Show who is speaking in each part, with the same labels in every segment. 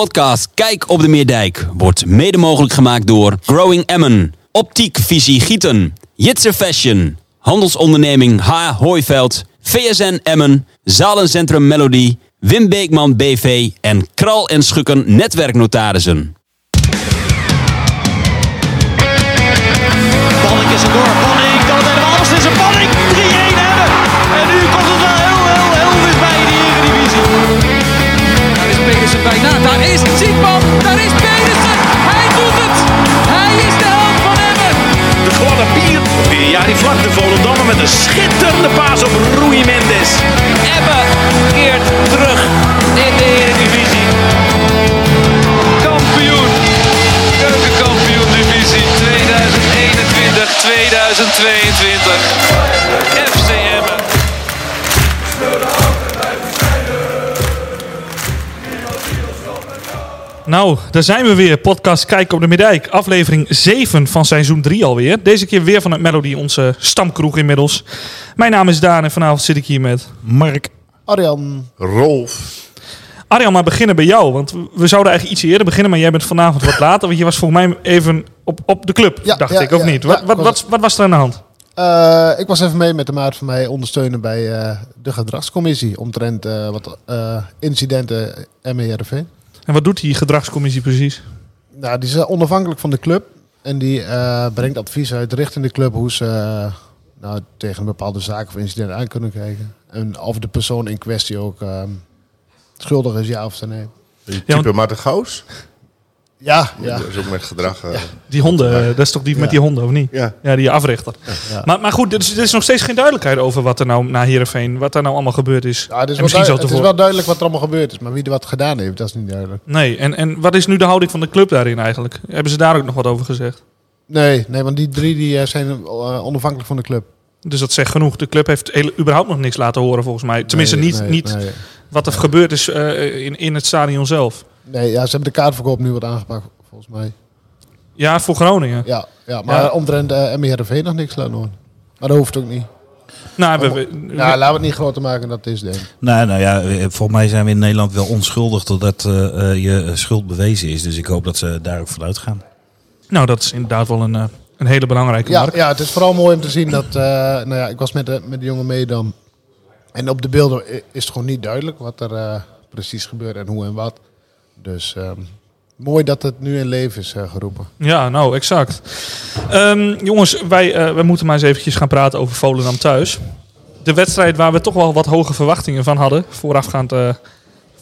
Speaker 1: podcast Kijk op de Meerdijk wordt mede mogelijk gemaakt door Growing Emmen, Optiek Visie Gieten, Jitse Fashion, Handelsonderneming H. Hooiveld, VSN Emmen, Zalencentrum Melody, Wim Beekman BV en Kral en Schukken Netwerknotarissen.
Speaker 2: Pannik is er door. Pannik kan het helemaal anders. Het is een Pannik. 3-1 hebben. En nu komt het wel heel, heel, heel dichtbij in de Eredivisie.
Speaker 3: is Pedersen bijna. Nou, Daar is Zietman. Daar is Pedersen. Hij doet het. Hij is de held van Emmen.
Speaker 4: De gladde bier. Ja, die vlakte Volendammer met een schitterende paas op Rui Mendes.
Speaker 2: Emmen keert terug in de Eredivisie. Kampioen. Keukenkampioen divisie 2021-2022. FC Emmen.
Speaker 5: Nou, daar zijn we weer. Podcast Kijk op de Middijk. Aflevering 7 van seizoen 3 alweer. Deze keer weer vanuit Melody, onze stamkroeg inmiddels. Mijn naam is Daan en vanavond zit ik hier met...
Speaker 6: Mark.
Speaker 7: Arjan,
Speaker 6: Rolf.
Speaker 5: Arjan, maar beginnen bij jou. Want we zouden eigenlijk iets eerder beginnen, maar jij bent vanavond wat later. Want je was volgens mij even op, op de club,
Speaker 7: Ja,
Speaker 5: dacht
Speaker 7: ja,
Speaker 5: ik, of
Speaker 7: ja,
Speaker 5: niet?
Speaker 7: ja,
Speaker 5: Wat, wat,
Speaker 7: klopt.
Speaker 5: wat, wat was er aan de hand?
Speaker 7: eh, ik was even mee met de maat van mij ondersteunen bij eh, de gedragscommissie omtrent eh, wat eh, incidenten E MERV.
Speaker 5: En wat doet die gedragscommissie precies?
Speaker 7: Nou, die is eh, onafhankelijk van de club en die eh, brengt advies uit richting de club hoe ze eh, nou, tegen een bepaalde zaak of incident aan kunnen kijken. En of de persoon in kwestie ook eh, schuldig is, ja of nee.
Speaker 5: Ja,
Speaker 6: Type
Speaker 5: want-
Speaker 6: maar de Goos.
Speaker 7: Ja, ja.
Speaker 6: Dat is ook met gedrag. eh,
Speaker 5: Die honden, eh, dat is toch die met die honden, of niet?
Speaker 6: ja.
Speaker 5: Ja, die africhter.
Speaker 7: ja.
Speaker 5: Maar, maar goed, er is, er is nog steeds geen duidelijkheid over wat er nou na Heerenveen, wat daar nou allemaal gebeurd is.
Speaker 7: Ja, het, is
Speaker 5: En
Speaker 7: wel
Speaker 5: misschien
Speaker 7: dui-
Speaker 5: zo
Speaker 7: het is
Speaker 5: tevoren.
Speaker 7: wel duidelijk wat er allemaal gebeurd is, maar wie er wat gedaan heeft, dat is niet duidelijk.
Speaker 5: Nee, en, en wat is nu de houding van de club daarin eigenlijk? Hebben ze daar ook nog wat over gezegd?
Speaker 7: Nee, nee want die drie die, eh, zijn eh, onafhankelijk van de club.
Speaker 5: Dus dat zegt genoeg. De club heeft hele- überhaupt nog niks laten horen volgens mij. Tenminste,
Speaker 7: Nee,
Speaker 5: niet,
Speaker 7: nee,
Speaker 5: niet
Speaker 7: nee.
Speaker 5: wat er gebeurd is eh, in, in het stadion zelf.
Speaker 7: Nee, ja, ze hebben de kaartverkoop nu wat aangepakt, volgens mij.
Speaker 5: Ja, voor Groningen.
Speaker 7: Ja, ja maar
Speaker 5: Ja.
Speaker 7: omtrent eh MRV nog niks laten horen. Maar dat hoeft ook niet.
Speaker 5: Nou, we, we-
Speaker 7: Nou, laten we het niet groter maken dan het is, denk ik.
Speaker 8: Nou, nou ja, eh, volgens mij zijn we in Nederland wel onschuldig totdat eh, eh, je schuld bewezen is. Dus ik hoop dat ze daar ook vanuit gaan.
Speaker 5: nou, dat is inderdaad wel een, eh, een hele belangrijke
Speaker 7: Ja,
Speaker 5: markt.
Speaker 7: ja, het is vooral mooi om te zien dat... eh, nou ja, ik was met de, met de jongen mee dan. En op de beelden i- is het gewoon niet duidelijk wat er eh, precies gebeurt en hoe en wat. Dus ehm, mooi dat het nu in leven is eh, geroepen.
Speaker 5: Ja, nou, exact. Ehm, jongens, wij, eh, wij moeten maar eens eventjes gaan praten over Volendam thuis. De wedstrijd waar we toch wel wat hoge verwachtingen van hadden, voorafgaand, eh,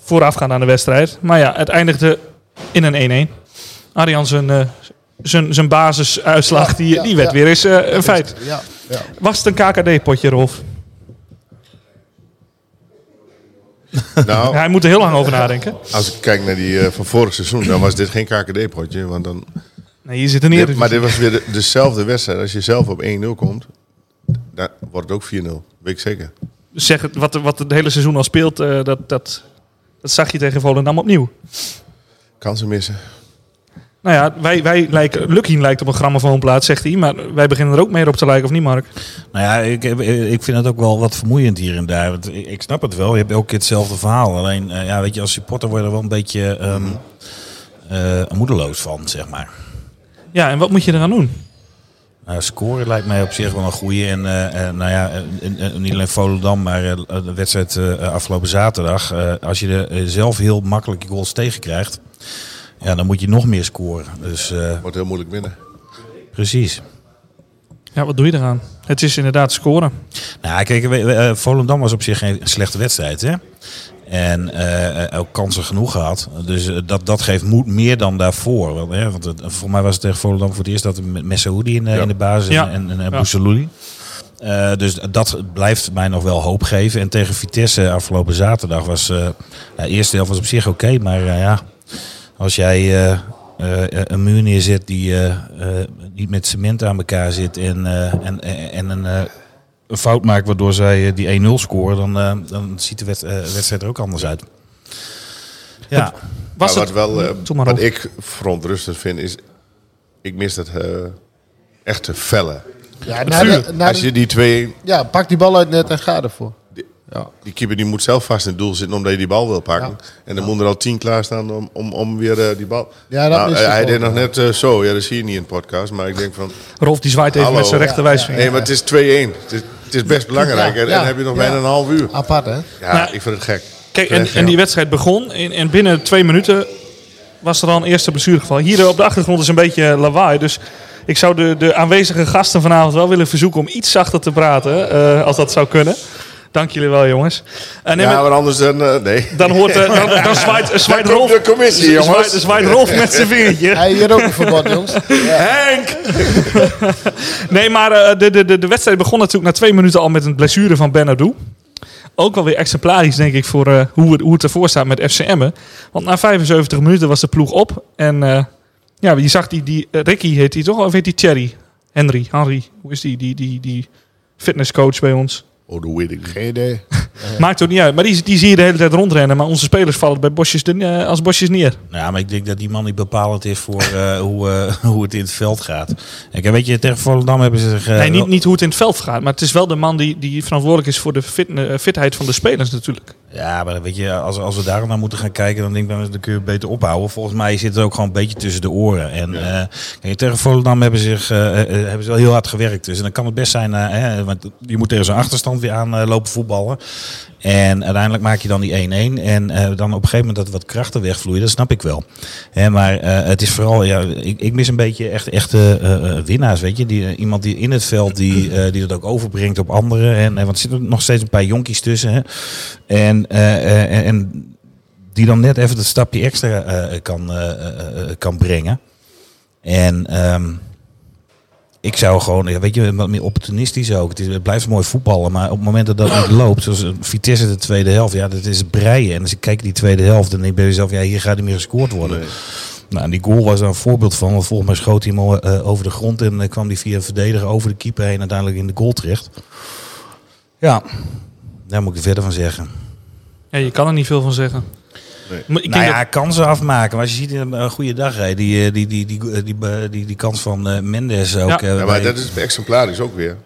Speaker 5: voorafgaand aan de wedstrijd. Maar ja, het eindigde in een 1-1. Arjan zijn, eh, zijn, zijn basisuitslag,
Speaker 7: Ja,
Speaker 5: die,
Speaker 7: ja,
Speaker 5: die werd
Speaker 7: ja.
Speaker 5: weer eens eh, een feit.
Speaker 7: Ja, ja.
Speaker 5: Was het een KKD-potje, Rolf?
Speaker 7: Oh.
Speaker 6: Nou,
Speaker 5: Ja, hij moet er heel lang over nadenken.
Speaker 6: als ik kijk naar die eh, van vorig seizoen, dan was dit geen KKD-potje. Want dan,
Speaker 5: Nee, hier zit er
Speaker 6: dit-
Speaker 5: niet.
Speaker 6: maar dit was weer de- dezelfde wedstrijd. Als je zelf op 1-0 komt, dan wordt het ook 4-0. Weet ik zeker.
Speaker 5: Zeg, het, wat, wat het hele seizoen al speelt, eh, dat, dat, dat zag je tegen Volendam opnieuw.
Speaker 6: Kansen missen.
Speaker 5: Nou ja, wij, wij lijken, Lucky lijkt op een grammofoonplaat, zegt hij. Maar wij beginnen er ook meer op te lijken, of niet, Mark?
Speaker 8: Nou ja, ik, heb- ik vind het ook wel wat vermoeiend hier en daar. Want ik, ik snap het wel. Je hebt elke keer hetzelfde verhaal. Alleen, eh, ja, weet je, als supporter word je er wel een beetje ehm, eh, moedeloos van, zeg maar.
Speaker 5: Ja, en wat moet je eraan doen?
Speaker 8: Nou, scoren lijkt mij op zich wel een goede. En eh, eh, nou ja, eh, eh, eh, niet alleen Volendam, maar eh, de wedstrijd eh, afgelopen zaterdag. eh, als je er eh, zelf heel makkelijk je goals tegen krijgt, ja, dan moet je nog meer scoren. Dus eh,
Speaker 6: Wordt heel moeilijk winnen.
Speaker 8: precies.
Speaker 5: Ja, wat doe je eraan? Het is inderdaad scoren.
Speaker 8: Nou, kijk, we- we- eh, Volendam was op zich geen slechte wedstrijd, hè? En eh, eh, ook kansen genoeg gehad. Dus eh, dat, dat geeft moed meer dan daarvoor. Want, hè, want het, voor mij was het tegen Volendam voor het eerst dat we met Messaoudi in, eh,
Speaker 6: Ja.
Speaker 8: in de basis
Speaker 5: Ja.
Speaker 8: en, en, en
Speaker 5: Ja.
Speaker 8: Bousselouli. Eh, dus dat blijft mij nog wel hoop geven. En tegen Vitesse afgelopen zaterdag was... eh, ja, de eerste helft was op zich oké, maar eh, ja... Als jij eh, eh, een muur neerzet die eh, eh, niet met cement aan elkaar zit en, eh, en, en, en een, eh, een fout maakt waardoor zij eh, die 1-0 scoren, dan, eh, dan ziet de wed- eh, wedstrijd er ook anders uit. Ja,
Speaker 5: Was
Speaker 6: Maar wat
Speaker 5: het...
Speaker 6: wel, eh,
Speaker 5: Doe maar
Speaker 6: wat
Speaker 5: op.
Speaker 6: ik verontrustend vind, is... Ik mis dat eh echte felle.
Speaker 7: ja na de- na de-
Speaker 6: Als je die twee...
Speaker 7: ja, pak die bal uit net en ga ervoor. Ja.
Speaker 6: Die keeper die moet zelf vast in het doel zitten omdat hij die bal wil pakken.
Speaker 7: Ja.
Speaker 6: En dan moet er al tien klaarstaan om, om, om weer eh, die bal...
Speaker 7: Ja, dat
Speaker 6: Nou,
Speaker 7: is
Speaker 6: eh,
Speaker 7: dus
Speaker 6: hij
Speaker 7: wel-
Speaker 6: deed nog net eh, zo. Ja, dat zie je niet in de podcast. Maar ik denk van...
Speaker 5: Rolf die zwaait even
Speaker 6: Hallo.
Speaker 5: met zijn rechterwijsvinger.
Speaker 6: Nee, maar het is 2-1. Het is, het is best belangrijk.
Speaker 7: Ja,
Speaker 6: en
Speaker 7: ja,
Speaker 6: dan heb je nog
Speaker 7: ja.
Speaker 6: bijna een half uur.
Speaker 7: Apart, hè?
Speaker 6: Ja,
Speaker 5: Nou,
Speaker 6: ik vind het gek.
Speaker 5: Kijk, en,
Speaker 6: Terecht,
Speaker 5: en die
Speaker 6: ja.
Speaker 5: wedstrijd begon en, en binnen twee minuten was er al een eerste blessuregeval. Hier eh, op de achtergrond is een beetje lawaai, dus ik zou de, de aanwezige gasten vanavond wel willen verzoeken om iets zachter te praten, eh, als dat zou kunnen. Dank jullie wel, jongens. En
Speaker 6: Ja, maar anders dan... eh, nee.
Speaker 5: Dan hoort, eh, dan, dan zwaait, zwaait
Speaker 6: komt
Speaker 5: Rolf...
Speaker 6: de commissie,
Speaker 5: zwaait-
Speaker 6: jongens.
Speaker 5: zwaait Rolf met zijn vingertje.
Speaker 7: Hij hier ook een verbod, jongens.
Speaker 5: Henk! nee, maar eh, de, de, de, de wedstrijd begon natuurlijk na twee minuten al met een blessure van Benadou. Ook wel weer exemplarisch, denk ik, voor eh, hoe, het, hoe het ervoor staat met FCM'en. Want na 75 minuten was de ploeg op. En eh, ja, je zag die, die eh, Ricky heet die toch? Of heet die Thierry? Henry, Henry. Hoe is die, die, die, die fitnesscoach bij ons?
Speaker 6: Oh, dat weet ik niet.
Speaker 7: Geen idee.
Speaker 5: Maakt ook niet uit. Maar die, die zie je de hele tijd rondrennen. Maar onze spelers vallen bij bosjes de, eh, als bosjes neer.
Speaker 8: Nou, ja, maar ik denk dat die man niet bepalend is voor eh, hoe, eh, hoe het in het veld gaat. Ik weet je, tegen Volendam hebben ze zich... eh,
Speaker 5: Nee, niet,
Speaker 8: wel-
Speaker 5: niet hoe het in het veld gaat. Maar het is wel de man die, die verantwoordelijk is voor de fit, eh, fitheid van de spelers natuurlijk.
Speaker 8: Ja, maar weet je, als, als we daar naar moeten gaan kijken, dan denk ik, dan, dan kun je het beter ophouden. Volgens mij zit het ook gewoon een beetje tussen de oren. En eh, kijk, tegen Volendam hebben, ze zich, eh, eh, hebben ze wel heel hard gewerkt. Dus en dan kan het best zijn, eh, hè, want je moet tegen zo'n achterstand weer aan eh, lopen voetballen. En uiteindelijk maak je dan die 1-1. En eh, dan op een gegeven moment dat er wat krachten wegvloeien, dat snap ik wel. Hè, maar eh, het is vooral, ja, ik, ik mis een beetje echt echte eh, eh, winnaars, weet je. Die, eh, iemand die in het veld, die, eh, die dat ook overbrengt op anderen. En, eh, want er zitten nog steeds een paar jonkies tussen, hè. En, eh, eh, en- en die dan net even dat stapje extra eh, eh, kan, eh, eh, eh, kan brengen. En ehm, ik zou gewoon, ja, weet je, wat meer opportunistisch ook. Het, is, het blijft mooi voetballen, maar op het moment dat dat niet loopt, zoals een Vitesse de tweede helft, ja, dat is het breien. En als ik kijk die tweede helft, dan denk ik bij mezelf, ja, hier gaat niet meer gescoord worden. Nou, en die goal was daar een voorbeeld van, want volgens mij schoot hij hem eh, over de grond en eh, kwam die via een verdediger over de keeper heen uiteindelijk in de goal terecht. Ja, daar moet ik er verder van zeggen.
Speaker 5: Ja, je kan er niet veel van zeggen.
Speaker 6: Nee.
Speaker 5: Maar ik
Speaker 8: nou
Speaker 5: denk
Speaker 8: ja, kansen afmaken. Maar als je ziet in een goede dag, hè, die, eh, die, die, die, die, die, die, die kans van eh, Mendes ook.
Speaker 5: Ja.
Speaker 8: eh,
Speaker 6: Ja, maar
Speaker 8: bij-
Speaker 6: dat is exemplarisch ook weer.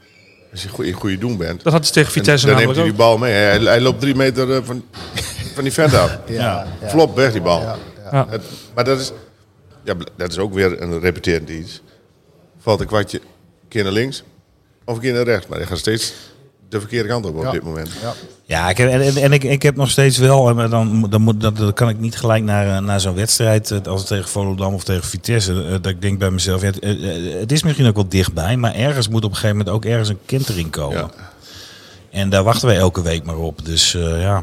Speaker 6: Als je goe- in goede doen bent.
Speaker 5: dat, dat had ze tegen
Speaker 6: En
Speaker 5: Vitesse
Speaker 6: dan neemt
Speaker 5: namelijk
Speaker 6: hij
Speaker 5: ook.
Speaker 6: die bal mee. Hij, hij loopt drie meter eh, van, van die vent af.
Speaker 7: Ja. ja.
Speaker 6: Flop weg die bal.
Speaker 5: Ja.
Speaker 6: Het- maar dat is, ja, bl- dat is ook weer een repeterend iets. Valt een kwartje een keer naar links of een keer naar rechts. Maar hij gaat steeds de verkeerde kant op op
Speaker 7: Ja.
Speaker 6: dit moment.
Speaker 7: Ja.
Speaker 8: Ja, ik heb, en, en- en ik, ik heb nog steeds wel, eh, maar dan, moet- dan, moet, dat, dat kan ik niet gelijk naar, eh, naar zo'n wedstrijd, eh, als het tegen Volendam of tegen Vitesse, eh, dat ik denk bij mezelf, ja, het, eh, eh, het is misschien ook wel dichtbij, maar ergens moet op een gegeven moment ook ergens een kentering komen.
Speaker 6: Ja.
Speaker 8: En daar wachten wij elke week maar op. Dus eh, ja.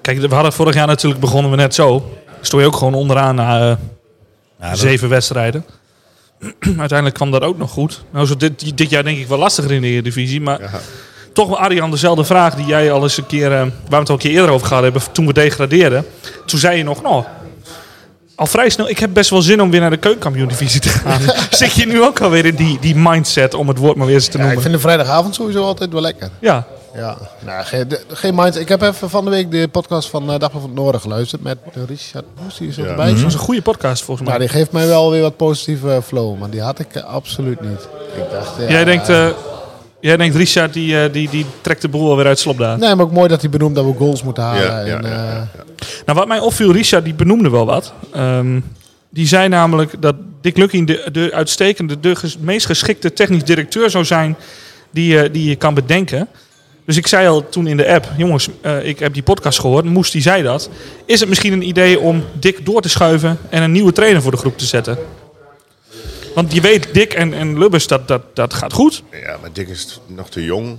Speaker 5: Kijk, we hadden vorig jaar natuurlijk begonnen we net zo. Stond je ook gewoon onderaan na eh,
Speaker 8: Ja, dat-
Speaker 5: zeven wedstrijden. Uiteindelijk kwam dat ook nog goed. Nou, zo dit, dit jaar denk ik wel lastiger in de Eredivisie. Maar toch wel, Arjan, dezelfde vraag die jij al eens een keer... eh, waar we het al een keer eerder over gehad hebben, toen we degradeerden. Toen zei je nog, nou... Al vrij snel, ik heb best wel zin om weer naar de keukenkampioen-divisie te gaan. Zit je nu ook alweer in die, die mindset, om het woord maar weer eens te
Speaker 7: Ja, ik
Speaker 5: noemen?
Speaker 7: vind de vrijdagavond sowieso altijd wel lekker.
Speaker 5: Ja,
Speaker 7: Ja, nou, geen, de- geen mind. Ik heb even van de week de podcast van eh, Dagblad van het Noorden geluisterd met eh, Richard Poes, die is
Speaker 6: Ja. Mhm.
Speaker 7: erbij.
Speaker 5: dat is een goede podcast volgens mij.
Speaker 7: Nou, die geeft mij wel weer wat positieve flow, maar die had ik eh, absoluut niet. Ik dacht, ja,
Speaker 5: Jij denkt, eh, jij denkt Richard, die, eh, die, die trekt de boel alweer uit slop daar.
Speaker 7: Nee, maar ook mooi dat hij benoemt dat we goals moeten halen.
Speaker 6: Ja, ja,
Speaker 7: en,
Speaker 6: ja, ja,
Speaker 7: eh,
Speaker 5: Nou, wat mij opviel, Richard, die benoemde wel wat. Ehm, die zei namelijk dat Dick Lucking de, de uitstekende, de ges- meest geschikte technisch directeur zou zijn die, je- die je kan bedenken. Dus ik zei al toen in de app, jongens, eh, ik heb die podcast gehoord, Moes die zei dat. Is het misschien een idee om Dick door te schuiven en een nieuwe trainer voor de groep te zetten? Want je weet, Dick en, en Lubbers, dat, dat, dat gaat goed.
Speaker 6: Ja, maar Dick is nog te jong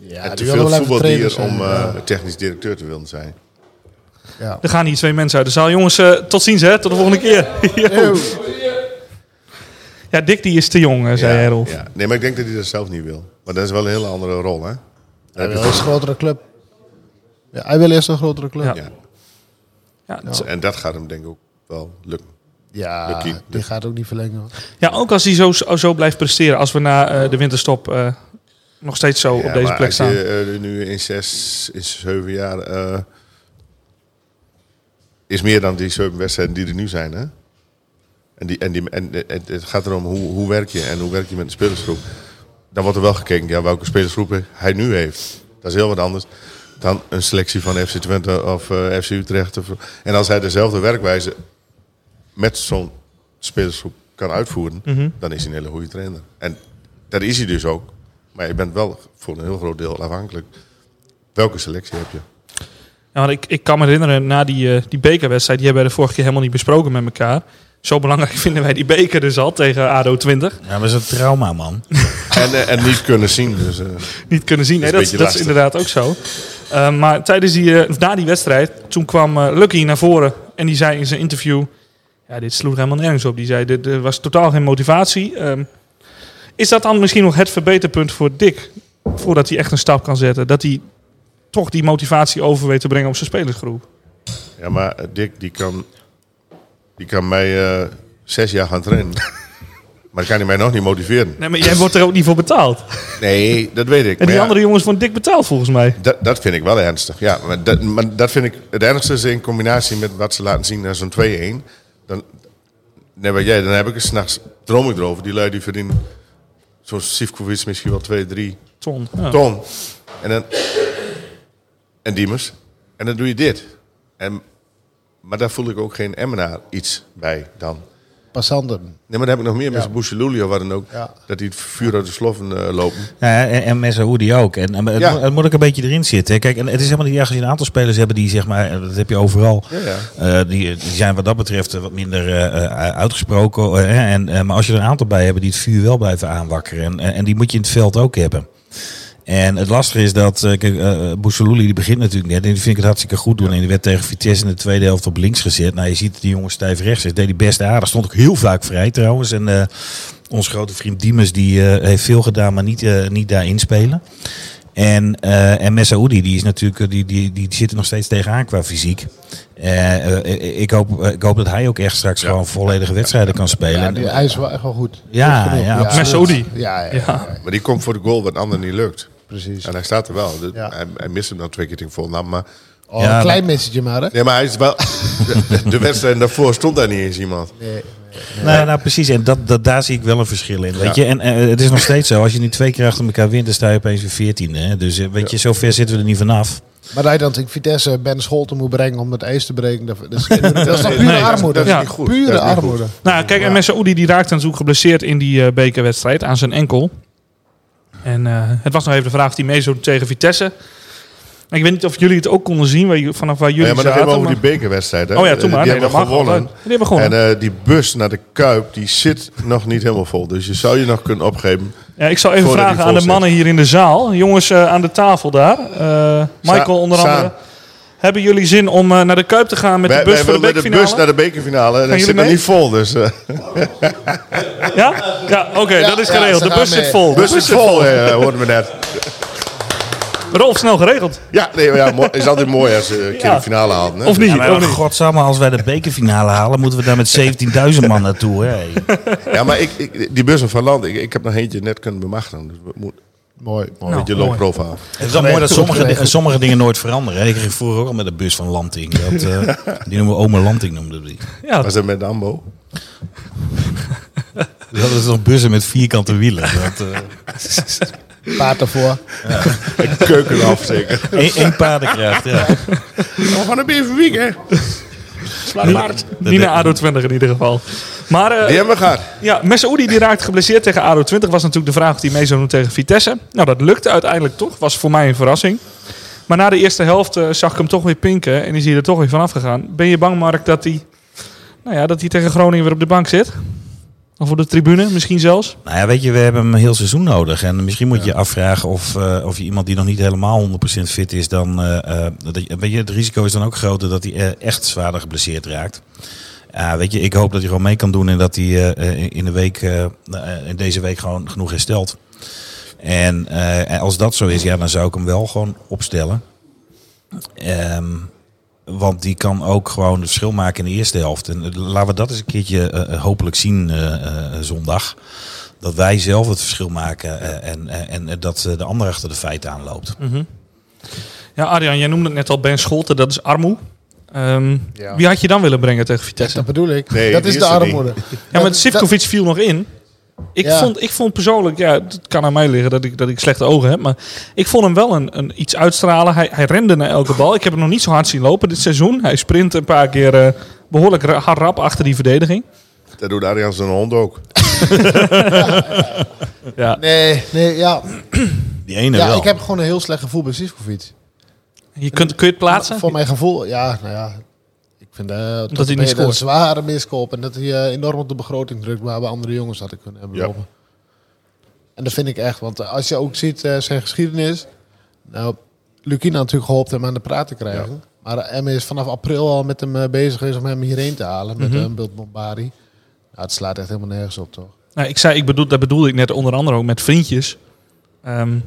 Speaker 7: ja,
Speaker 6: en
Speaker 7: die
Speaker 6: te
Speaker 7: willen
Speaker 6: veel
Speaker 7: wel even trainers
Speaker 6: voetbaldier
Speaker 7: zijn.
Speaker 6: om
Speaker 7: Ja.
Speaker 6: eh, technisch directeur te willen zijn.
Speaker 7: ja.
Speaker 5: Er gaan hier twee mensen uit de zaal. Jongens, eh, tot ziens hè, tot de volgende keer. Yo. Ja, Dick die is te jong, eh, zei
Speaker 6: ja,
Speaker 5: hij Rolf.
Speaker 6: ja. Nee, maar ik denk dat hij dat zelf niet wil. Maar dat is wel een hele andere rol, hè?
Speaker 7: Hij wil eerst een grotere club. Ja, hij wil eerst een grotere club.
Speaker 5: Ja.
Speaker 7: Ja,
Speaker 5: Ja, het-
Speaker 6: Dus, En dat gaat hem denk ik ook wel lukken. Lucky.
Speaker 7: die gaat ook niet verlengen. hoor.
Speaker 5: ja, ook als hij zo, zo blijft presteren. Als we na eh, de winterstop eh, nog steeds zo
Speaker 6: Ja,
Speaker 5: op deze
Speaker 6: maar
Speaker 5: plek
Speaker 6: als
Speaker 5: staan.
Speaker 6: je eh, nu in zes, in zeven jaar... eh, is meer dan die zeven wedstrijden die er nu zijn, hè? En, die, en, die, en, en het gaat erom hoe, hoe werk je en hoe werk je met de spelersgroep. Dan wordt er wel gekeken ja, welke spelersgroepen hij nu heeft. Dat is heel wat anders dan een selectie van FC Twente of eh, FC Utrecht. Of, en als hij dezelfde werkwijze met zo'n spelersgroep kan uitvoeren, dan is hij een hele goede trainer. En dat is hij dus ook. Maar je bent wel voor een heel groot deel afhankelijk. Welke selectie heb je?
Speaker 5: Ja, want ik, ik kan me herinneren, na die, eh, die bekerwedstrijd, die hebben we de vorige keer helemaal niet besproken met elkaar. Zo belangrijk vinden wij die beker dus al tegen ADO 20.
Speaker 8: Ja, maar dat is een trauma, man.
Speaker 6: En, eh, en niet kunnen zien. Dus, eh,
Speaker 5: Niet kunnen zien. Nee,
Speaker 6: Dat
Speaker 5: dat,
Speaker 6: is
Speaker 5: is-
Speaker 6: een
Speaker 5: dat is
Speaker 6: beetje
Speaker 5: inderdaad ook zo. Eh, maar tijdens die, eh, na die wedstrijd, toen kwam eh, Lucky naar voren en die zei in zijn interview... Ja, dit sloeg helemaal nergens op. Die zei, er- er was totaal geen motivatie. Ehm, is dat dan misschien nog het verbeterpunt voor Dick? Voordat hij echt een stap kan zetten. Dat hij toch die motivatie over weet te brengen op zijn spelersgroep.
Speaker 6: ja, maar eh, Dick, die kan, die kan mij eh, zes jaar gaan trainen. maar kan hij mij nog niet motiveren.
Speaker 5: Nee, maar jij wordt er ook niet voor betaald.
Speaker 6: Nee, dat weet ik.
Speaker 5: En
Speaker 6: Maar
Speaker 5: die
Speaker 6: ja,
Speaker 5: andere jongens worden dik betaald volgens mij.
Speaker 6: Dat, dat vind ik wel ernstig. Ja, maar dat, maar dat vind ik het ernstigste in combinatie met wat ze laten zien naar zo'n 2-1. Dan, nee, wat jij, dan heb ik er s'nachts droom ik erover. Die lui die verdienen zo'n Sivkovic misschien wel 2, 3
Speaker 5: Ton. Ja.
Speaker 6: ton. En, dan, en Diemers. En dan doe je dit. En, maar daar voel ik ook geen Emmenaar iets bij dan.
Speaker 7: Passanten.
Speaker 6: Nee, maar dan heb ik nog meer met ja. Bouchelulio, waar dan ook.
Speaker 7: Ja.
Speaker 6: Dat die het vuur uit de sloffen eh, lopen.
Speaker 8: Ja, en, en Messaoudi ook. En, en het,
Speaker 6: Ja.
Speaker 8: moet, het moet ook een beetje erin zitten. hè. Kijk, en het is helemaal niet erg als je een aantal spelers hebt die, zeg maar, eh, dat heb je overal.
Speaker 6: Ja, ja.
Speaker 8: Eh, die, die zijn wat dat betreft eh, wat minder eh, eh, uitgesproken. eh, hè. en, eh, maar als je er een aantal bij hebt die het vuur wel blijven aanwakkeren. En, en, en die moet je in het veld ook hebben. En het lastige is dat, eh, kijk, eh Bousselouli die begint natuurlijk net. En die vind ik het hartstikke goed doen. En die werd tegen Vitesse in de tweede helft op links gezet. Nou, je ziet die jongen stijf rechts. is. deed die best aardig. Stond ook heel vaak vrij trouwens. En eh ons grote vriend Diemers die eh, heeft veel gedaan, maar niet, eh, niet daarin spelen. En, eh en Messaoudi, die is natuurlijk, eh, die, die, die zit er nog steeds tegenaan qua fysiek. Eh, eh, ik, hoop, eh, ik hoop dat hij ook echt straks gewoon volledige wedstrijden kan spelen.
Speaker 7: Ja,
Speaker 8: En-
Speaker 7: die ijs was echt wel goed.
Speaker 8: Ja,
Speaker 7: Goed genoeg.
Speaker 8: ja, absoluut.
Speaker 5: Messi.
Speaker 7: Ja, ja,
Speaker 5: Ja.
Speaker 7: ja,
Speaker 6: Maar die komt voor de goal wat anderen niet lukt.
Speaker 7: precies.
Speaker 6: En hij staat er wel. Dus
Speaker 7: Ja.
Speaker 6: hij, hij mist hem dan twee keer tegen Volendam. Maar,
Speaker 7: Oh,
Speaker 8: Ja,
Speaker 7: een klein messetje maar, hè?
Speaker 6: nee, maar hij is wel... de, de wedstrijd daarvoor stond daar niet eens iemand.
Speaker 7: Nee.
Speaker 8: Nou, nou precies, en dat, dat, daar zie ik wel een verschil in. Weet je? En eh, het is nog steeds zo, als je nu twee keer achter elkaar wint, dan sta je opeens weer 14. Hè? Dus eh, weet je, zo ver zitten we er niet vanaf.
Speaker 7: Maar dat je dan tegen Vitesse Ben Scholten moet brengen om het ijs te breken, dat, dat is, dat is toch pure
Speaker 5: Nee, dat is-
Speaker 7: armoede?
Speaker 6: dat is
Speaker 5: Ja.
Speaker 6: niet goed.
Speaker 7: Pure
Speaker 6: Dat is niet goed.
Speaker 7: armoede.
Speaker 5: Nou, kijk, en Messaoudi die raakte natuurlijk geblesseerd in die eh, bekerwedstrijd aan zijn enkel. En eh, het was nog even de vraag of hij mee zou doen tegen Vitesse. En ik weet niet of jullie het ook konden zien waar, je- vanaf waar jullie
Speaker 6: Ja, maar nog
Speaker 5: zaten.
Speaker 6: even over die
Speaker 5: maar-
Speaker 6: bekerwedstrijd. Hè.
Speaker 5: Oh ja, toen maar.
Speaker 6: Die
Speaker 5: Nee,
Speaker 6: hebben
Speaker 5: dat mag
Speaker 6: gewonnen.
Speaker 5: altijd. Die hebben gewonnen.
Speaker 6: En eh, die bus naar de Kuip, die zit nog niet helemaal vol. Dus je zou je nog kunnen opgeven.
Speaker 5: ja, ik zal even
Speaker 6: Voordat hij
Speaker 5: vragen aan de
Speaker 6: vol zit.
Speaker 5: mannen hier in de zaal. Jongens eh, aan de tafel daar. Eh, Michael onder
Speaker 6: Saan.
Speaker 5: andere. Hebben jullie zin om eh, naar de Kuip te gaan met
Speaker 6: Wij,
Speaker 5: de bus
Speaker 6: wij
Speaker 5: voor de
Speaker 6: wilden de
Speaker 5: bekerfinale?
Speaker 6: bus naar de bekerfinale. En hij
Speaker 5: jullie
Speaker 6: zit nog
Speaker 5: mee? Oh,
Speaker 6: niet vol. Dus eh,
Speaker 5: Ja? Ja, oké, dat is
Speaker 7: ja,
Speaker 5: geregeld.
Speaker 7: ze
Speaker 5: de
Speaker 7: gaan
Speaker 5: bus zit
Speaker 7: mee.
Speaker 5: vol.
Speaker 6: de bus zit vol, eh, hoorden we net.
Speaker 5: Rolf, snel geregeld.
Speaker 6: Ja, nee, maar ja, mo- is altijd mooi als ze een keer
Speaker 5: Ja.
Speaker 6: de finale halen. Hè?
Speaker 5: Of niet?
Speaker 8: Ja, maar
Speaker 5: of niet?
Speaker 8: Oh, godsamme, als wij de bekerfinale halen, moeten we daar met 17.000 man naartoe. Hè?
Speaker 6: Ja, maar ik, ik, die bussen van land, ik, ik heb nog eentje net kunnen bemachtigen. Dus we moeten
Speaker 7: Mooi, mooi.
Speaker 6: een beetje
Speaker 5: Nou,
Speaker 6: low profile.
Speaker 8: Het is wel mooi dat sommige, di- sommige dingen nooit veranderen. Hè? Ik ging vroeger ook al met de bus van Lanting. Dat, eh, die noemen we Ome Lanting, noemden we die.
Speaker 5: Ja,
Speaker 6: Was dat met Ambo?
Speaker 8: Dat is Dus nog bussen met vierkante wielen. Dat, eh,
Speaker 7: Paard ervoor.
Speaker 6: Keuken af zeker.
Speaker 8: één- één paardenkracht, ja.
Speaker 6: Van een beverweek, hè?
Speaker 5: niet naar ADO 20 in ieder geval. Maar eh,
Speaker 6: Die hebben we gehad.
Speaker 5: Ja, Messaoudi die raakt geblesseerd tegen ADO 20. Was natuurlijk de vraag of hij mee zou doen tegen Vitesse. Nou, dat lukte uiteindelijk toch. Was voor mij een verrassing. Maar na de eerste helft eh, zag ik hem toch weer pinken. En is hij er toch weer vanaf gegaan. Ben je bang, Mark, dat hij, nou ja, dat hij tegen Groningen weer op de bank zit? Of op de tribune misschien zelfs?
Speaker 8: Nou ja, weet je, we hebben hem een heel seizoen nodig. En misschien moet je je afvragen of, eh, of je iemand die nog niet helemaal 100% fit is, dan. eh, eh, dat je, weet je, het risico is dan ook groter dat hij eh, echt zwaarder geblesseerd raakt. Ja, weet je, ik hoop dat hij gewoon mee kan doen en dat hij eh, eh, in, de week, eh, eh, in deze week gewoon genoeg herstelt. En eh, en als dat zo is, ja, dan zou ik hem wel gewoon opstellen. Ehm, want die kan ook gewoon het verschil maken in de eerste helft. En eh, laten we dat eens een keertje eh, eh, hopelijk zien eh, eh, zondag dat wij zelf het verschil maken eh, en, en, en dat eh, de ander achter de feiten aanloopt.
Speaker 5: Ja, Arjan, jij noemde het net al Ben Scholten. Dat is armoe. Ehm,
Speaker 7: Ja.
Speaker 5: Wie had je dan willen brengen tegen
Speaker 7: Dat
Speaker 5: Vitesse?
Speaker 7: bedoel ik.
Speaker 6: Nee,
Speaker 7: dat
Speaker 6: die
Speaker 7: is
Speaker 6: is
Speaker 7: de
Speaker 6: er niet.
Speaker 7: armoede.
Speaker 5: Ja, maar Sivkovic viel nog in. Ik,
Speaker 7: Ja.
Speaker 5: vond, ik vond persoonlijk, ja, het kan aan mij liggen dat ik, dat ik slechte ogen heb. Maar ik vond hem wel een, een iets uitstralen. Hij, hij rende naar elke bal. Ik heb hem nog niet zo hard zien lopen dit seizoen. Hij sprint een paar keer eh, behoorlijk ra- hard rap achter die verdediging.
Speaker 6: Dat doet Arjan zijn hond ook.
Speaker 7: Nee, nee, ja.
Speaker 8: Die ene
Speaker 7: ja
Speaker 8: wel.
Speaker 7: ik heb gewoon een heel slecht gevoel bij Sivkovic.
Speaker 5: Je kunt, kun je het plaatsen?
Speaker 7: Voor mijn gevoel, ja, nou ja. Ik vind eh
Speaker 5: hij
Speaker 7: dat
Speaker 5: niet
Speaker 7: hij niet
Speaker 5: scoort.
Speaker 7: een zware miskoop. En dat hij eh, enorm op de begroting drukt waar we andere jongens hadden kunnen hebben
Speaker 6: Ja.
Speaker 7: lopen. En dat vind ik echt. Want eh, als je ook ziet eh, zijn geschiedenis. Nou, Lukina natuurlijk geholpen hem aan de praat te krijgen. Maar M is vanaf april al met hem eh, bezig geweest om hem hierheen te halen.
Speaker 5: Mhm.
Speaker 7: Met een beeld Bombari. Nou, het slaat echt helemaal nergens op, toch?
Speaker 5: Nou, ik zei, ik bedoel, dat bedoelde ik net onder andere ook met vriendjes. Ehm,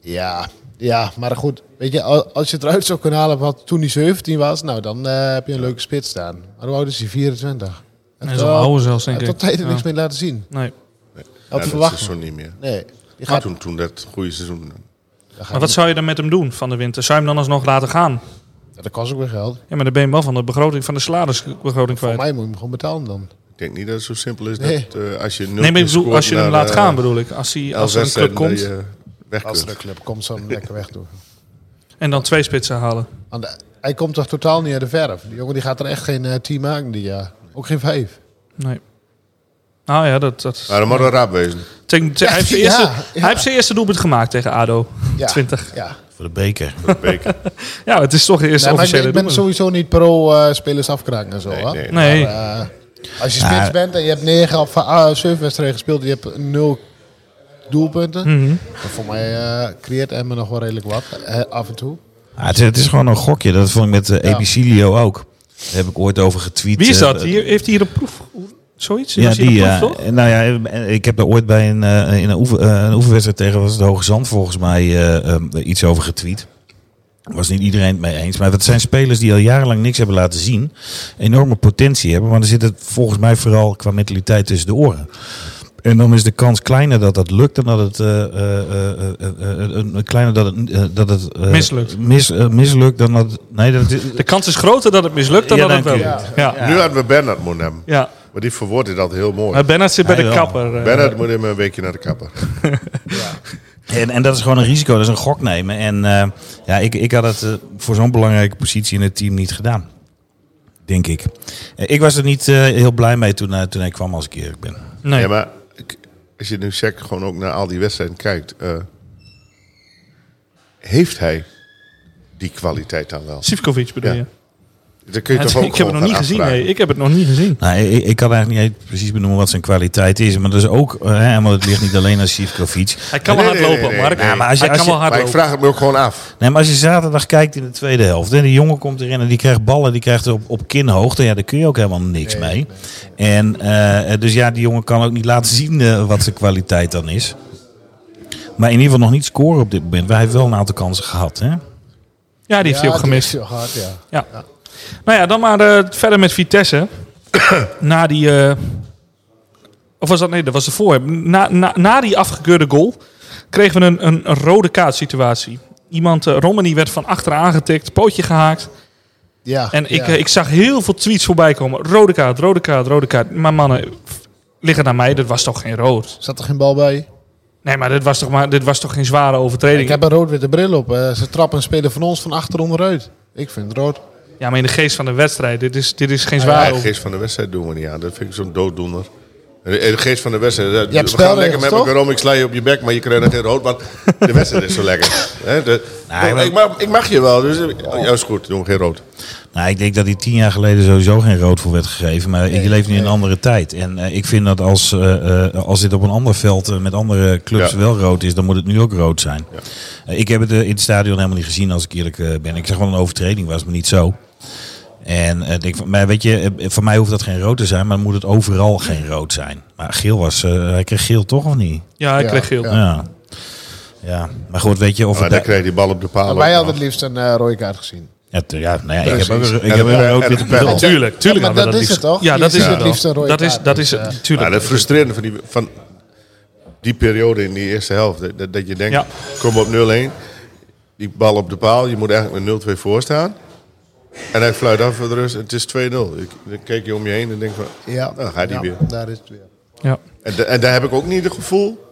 Speaker 7: Ja, ja, maar goed. Weet je, al- als je het eruit zou kunnen halen wat toen hij 17 was, nou dan eh, heb je een leuke spits staan. Maar hoe oud is hij? 24.
Speaker 5: hij is al ouder zelfs, denk ik.
Speaker 7: Tot tijd
Speaker 5: Ja.
Speaker 7: niks meer laten zien.
Speaker 5: Nee.
Speaker 7: Had
Speaker 6: en dat
Speaker 7: verwacht.
Speaker 6: seizoen niet meer.
Speaker 7: Nee. Die
Speaker 6: Maar
Speaker 7: gaat,
Speaker 6: toen, toen dat goede seizoen.
Speaker 7: daar gaat
Speaker 5: Maar wat zou je dan met hem doen van de winter? Zou je hem dan alsnog laten gaan?
Speaker 7: niet- dat kost ook weer geld.
Speaker 5: Ja, maar dan ben je hem wel van de begroting, van de salarisbegroting
Speaker 7: Voor
Speaker 5: kwijt.
Speaker 7: mij moet je hem gewoon betalen dan.
Speaker 6: Ik denk niet dat het zo simpel is
Speaker 7: Nee.
Speaker 6: dat eh, als je nul
Speaker 5: Nee, maar ik
Speaker 6: keer
Speaker 5: bedoel,
Speaker 6: scoort
Speaker 5: als je hem
Speaker 6: naar,
Speaker 5: laat
Speaker 6: eh,
Speaker 5: gaan, bedoel ik. Als, hij,
Speaker 6: elf
Speaker 5: als er een club
Speaker 6: wedstrijden
Speaker 5: komt
Speaker 6: dat je weg
Speaker 7: Als
Speaker 6: kunt.
Speaker 7: de club komt, zal hem lekker weg doen.
Speaker 5: en dan twee spitsen halen.
Speaker 7: Want eh, hij komt toch totaal niet uit de verf. Die jongen die gaat er echt geen eh, 10 maken dit jaar. Ook geen 5.
Speaker 5: Nee. Nou ja, dat... dat
Speaker 6: Maar dan moet er rap wezen.
Speaker 5: Tegen- te-
Speaker 7: Ja,
Speaker 5: hij, heeft zijn
Speaker 7: ja,
Speaker 5: eerste,
Speaker 7: ja.
Speaker 5: hij heeft zijn eerste doelpunt gemaakt tegen ADO.
Speaker 7: Ja.
Speaker 5: 20.
Speaker 7: Ja.
Speaker 8: Voor de beker.
Speaker 6: Beker.
Speaker 5: Ja, het is toch de eerste
Speaker 7: Nee, maar ik,
Speaker 5: officiële
Speaker 7: ik ben
Speaker 5: doelpunt.
Speaker 7: sowieso niet pro eh, spelers afkraken en zo.
Speaker 6: Nee,
Speaker 7: hoor.
Speaker 6: nee.
Speaker 5: Nee,
Speaker 7: Maar, eh, als je spits bent en je hebt 9 of 7 ah, wedstrijden gespeeld, je hebt 0 doelpunten.
Speaker 5: Mhm.
Speaker 7: Dan voor mij eh, creëert Emmen nog wel redelijk wat eh, af en toe.
Speaker 8: Ah, het, is, het is gewoon een gokje. Dat vond ik met eh,
Speaker 7: Ja.
Speaker 8: Ebicilio ook. Daar heb ik ooit over getweet.
Speaker 5: wie is
Speaker 8: eh,
Speaker 5: dat? Hier, heeft hij hier een proef? Zoiets?
Speaker 8: Ja,
Speaker 5: Was hier
Speaker 8: die.
Speaker 5: een
Speaker 8: ja.
Speaker 5: proef, toch?
Speaker 8: nou ja, eh, ik heb daar ooit bij een, eh, in een, oefen, eh, een oefenwedstrijd tegen was het Hoge Zand volgens mij eh, eh, iets over getweet. Was niet iedereen het mee eens. Maar dat zijn spelers die al jarenlang niks hebben laten zien. Enorme potentie hebben. Maar er zit het volgens mij vooral qua mentaliteit tussen de oren. En dan is de kans kleiner dat dat lukt dan dat het, eh, eh, eh, eh, eh, eh, eh, kleiner dat het, eh, dat het eh,
Speaker 5: Mislukt.
Speaker 8: Mis, eh, mislukt dan dat. Nee, dat het,
Speaker 5: De kans is groter dat het mislukt dan
Speaker 8: Ja,
Speaker 5: dat het wel
Speaker 8: dank
Speaker 5: lukt. Ja.
Speaker 6: Nu hadden we Bernard moeten hebben.
Speaker 5: ja.
Speaker 6: Maar die verwoordt dat heel mooi.
Speaker 5: Maar Bennett zit bij
Speaker 8: Hij
Speaker 5: de
Speaker 8: wel.
Speaker 5: kapper. eh.
Speaker 6: Bernard moet even een weekje naar de kapper.
Speaker 8: En, en dat is gewoon een risico, dat is een gok nemen. En eh, ja, ik, ik had het eh, voor zo'n belangrijke positie in het team niet gedaan. Denk ik. Eh, Ik was er niet eh, heel blij mee toen, eh, toen hij kwam, als ik eerlijk ben.
Speaker 5: Nee.
Speaker 6: Ja, maar ik- als je nu Jack gewoon ook naar al die wedstrijden kijkt. eh, heeft hij die kwaliteit dan wel?
Speaker 5: Sivkovic bedoel
Speaker 6: Ja.
Speaker 5: je?
Speaker 6: Dat kun je toch ook
Speaker 5: ik heb het
Speaker 6: gewoon
Speaker 5: nog niet
Speaker 6: gaan
Speaker 5: gezien.
Speaker 6: afvragen.
Speaker 5: Nee, ik heb het nog niet gezien.
Speaker 8: Nou, ik, ik kan eigenlijk niet eens precies benoemen wat zijn kwaliteit is. Maar dat is ook, eh, hè, want het ligt niet alleen aan Sivkovic.
Speaker 5: Hij kan
Speaker 6: Nee,
Speaker 5: wel
Speaker 6: nee,
Speaker 5: hard
Speaker 6: nee,
Speaker 5: lopen,
Speaker 6: nee,
Speaker 5: maar ik-
Speaker 6: nee.
Speaker 8: Ja, maar als je-
Speaker 5: hij kan
Speaker 8: als je-
Speaker 5: wel hard
Speaker 6: Maar ik
Speaker 5: lopen.
Speaker 6: vraag het me ook gewoon af.
Speaker 8: Nee, maar als je zaterdag kijkt in de tweede helft. En die jongen komt erin en die krijgt ballen. Die krijgt er op, op kinhoogte. Ja, daar kun je ook helemaal niks mee. En eh, dus ja, die jongen kan ook niet laten zien eh, wat zijn kwaliteit dan is. Maar in ieder geval nog niet scoren op dit moment. Wij hebben wel een aantal kansen gehad. Hè?
Speaker 5: Ja, die heeft hij ook gemist.
Speaker 7: Die heeft hij ook gehad, ja.
Speaker 5: Ja. Nou ja, dan maar eh, verder met Vitesse. na die. eh, of was dat? Nee, dat was ervoor. Na, na, na die afgekeurde goal kregen we een, een, een rode kaart situatie. Iemand, eh Romney, werd van achteren aangetikt, pootje gehaakt.
Speaker 7: ja.
Speaker 5: En ik,
Speaker 7: ja.
Speaker 5: eh, ik zag heel veel tweets voorbij komen. Rode kaart, rode kaart, rode kaart. Maar mannen, f- liggen naar mij, dat was toch geen rood?
Speaker 7: Zat er geen bal bij?
Speaker 5: Nee, maar dit was toch, maar, dit was toch geen zware overtreding?
Speaker 7: Ik heb een rood-witte bril op. eh, ze trappen een speler van ons van achter onderuit. Ik vind het rood.
Speaker 5: Ja, maar in de geest van de wedstrijd, dit is, dit is geen
Speaker 7: Ah
Speaker 6: Ja,
Speaker 5: zware
Speaker 6: de
Speaker 5: overtreding.
Speaker 6: geest van de wedstrijd doen we niet aan. Dat vind ik zo'n dooddoener. De de geest van de wedstrijd. eh,
Speaker 7: hebt
Speaker 6: we gaan
Speaker 7: spelregels,
Speaker 6: lekker met
Speaker 7: toch?
Speaker 6: elkaar om. Ik sla je op je bek, maar je krijgt er geen rood. Want de wedstrijd is zo lekker. Hè, de- Oh,
Speaker 8: Nee,
Speaker 6: ik,
Speaker 8: maar-
Speaker 6: mag, ik mag je wel. Dus, oh, ja, is goed. Doen we geen rood.
Speaker 8: Nou, ik denk dat die tien jaar geleden sowieso geen rood voor werd gegeven. Maar je leeft nu in een andere tijd. En eh, ik vind dat als, eh, eh, als dit op een ander veld eh, met andere clubs
Speaker 6: Ja.
Speaker 8: wel rood is, dan moet het nu ook rood zijn. Eh, ik heb het eh, in het stadion helemaal niet gezien, als ik eerlijk eh, ben. Ik zag wel een overtreding, was maar niet zo. En eh, ik, maar weet je, eh, voor mij hoeft dat geen rood te zijn, maar moet het overal geen rood zijn. Maar geel was, eh, hij kreeg geel toch of niet?
Speaker 5: Ja, ik
Speaker 7: Ja,
Speaker 5: kreeg geel.
Speaker 7: ja.
Speaker 8: Ja. ja. maar goed, weet je of
Speaker 6: Maar
Speaker 8: het
Speaker 6: dan
Speaker 8: daar-
Speaker 6: krijg je die bal op de paal.
Speaker 7: Maar wij hadden het liefst een eh, rode kaart gezien.
Speaker 8: Ja, t- ja, nou ja, ik heb ook
Speaker 6: Precies.
Speaker 8: een- ik
Speaker 6: En
Speaker 8: heb ook
Speaker 6: dan- eh,
Speaker 8: een
Speaker 6: en-
Speaker 8: rood-witte
Speaker 6: en-
Speaker 8: bril.
Speaker 6: en-
Speaker 8: op.
Speaker 5: Tuurlijk, tuurlijk.
Speaker 7: Ja, maar
Speaker 5: hadden
Speaker 7: dat is
Speaker 5: liefst.
Speaker 7: het toch?
Speaker 5: Ja,
Speaker 7: Je
Speaker 5: dat is
Speaker 7: ziet
Speaker 5: het
Speaker 7: het
Speaker 5: wel.
Speaker 7: liefst een rode
Speaker 5: Dat is,
Speaker 7: kaart,
Speaker 5: dat
Speaker 7: dus,
Speaker 5: is het,
Speaker 7: eh,
Speaker 5: tuurlijk.
Speaker 6: Maar het frustrerende van die, van die periode in die eerste helft. Dat, dat- dat je denkt,
Speaker 5: Ja.
Speaker 6: kom op 0-1. Die bal op de paal. Je moet eigenlijk met 0-2 voor staan. En hij fluit af voor de rust. Het is 2-0. Ik- Dan kijk je om je heen en denk van,
Speaker 7: Ja,
Speaker 6: nou gaat hij
Speaker 7: Ja,
Speaker 6: weer.
Speaker 7: daar is het weer.
Speaker 5: Ja.
Speaker 6: En, da- en daar heb ik ook niet het gevoel.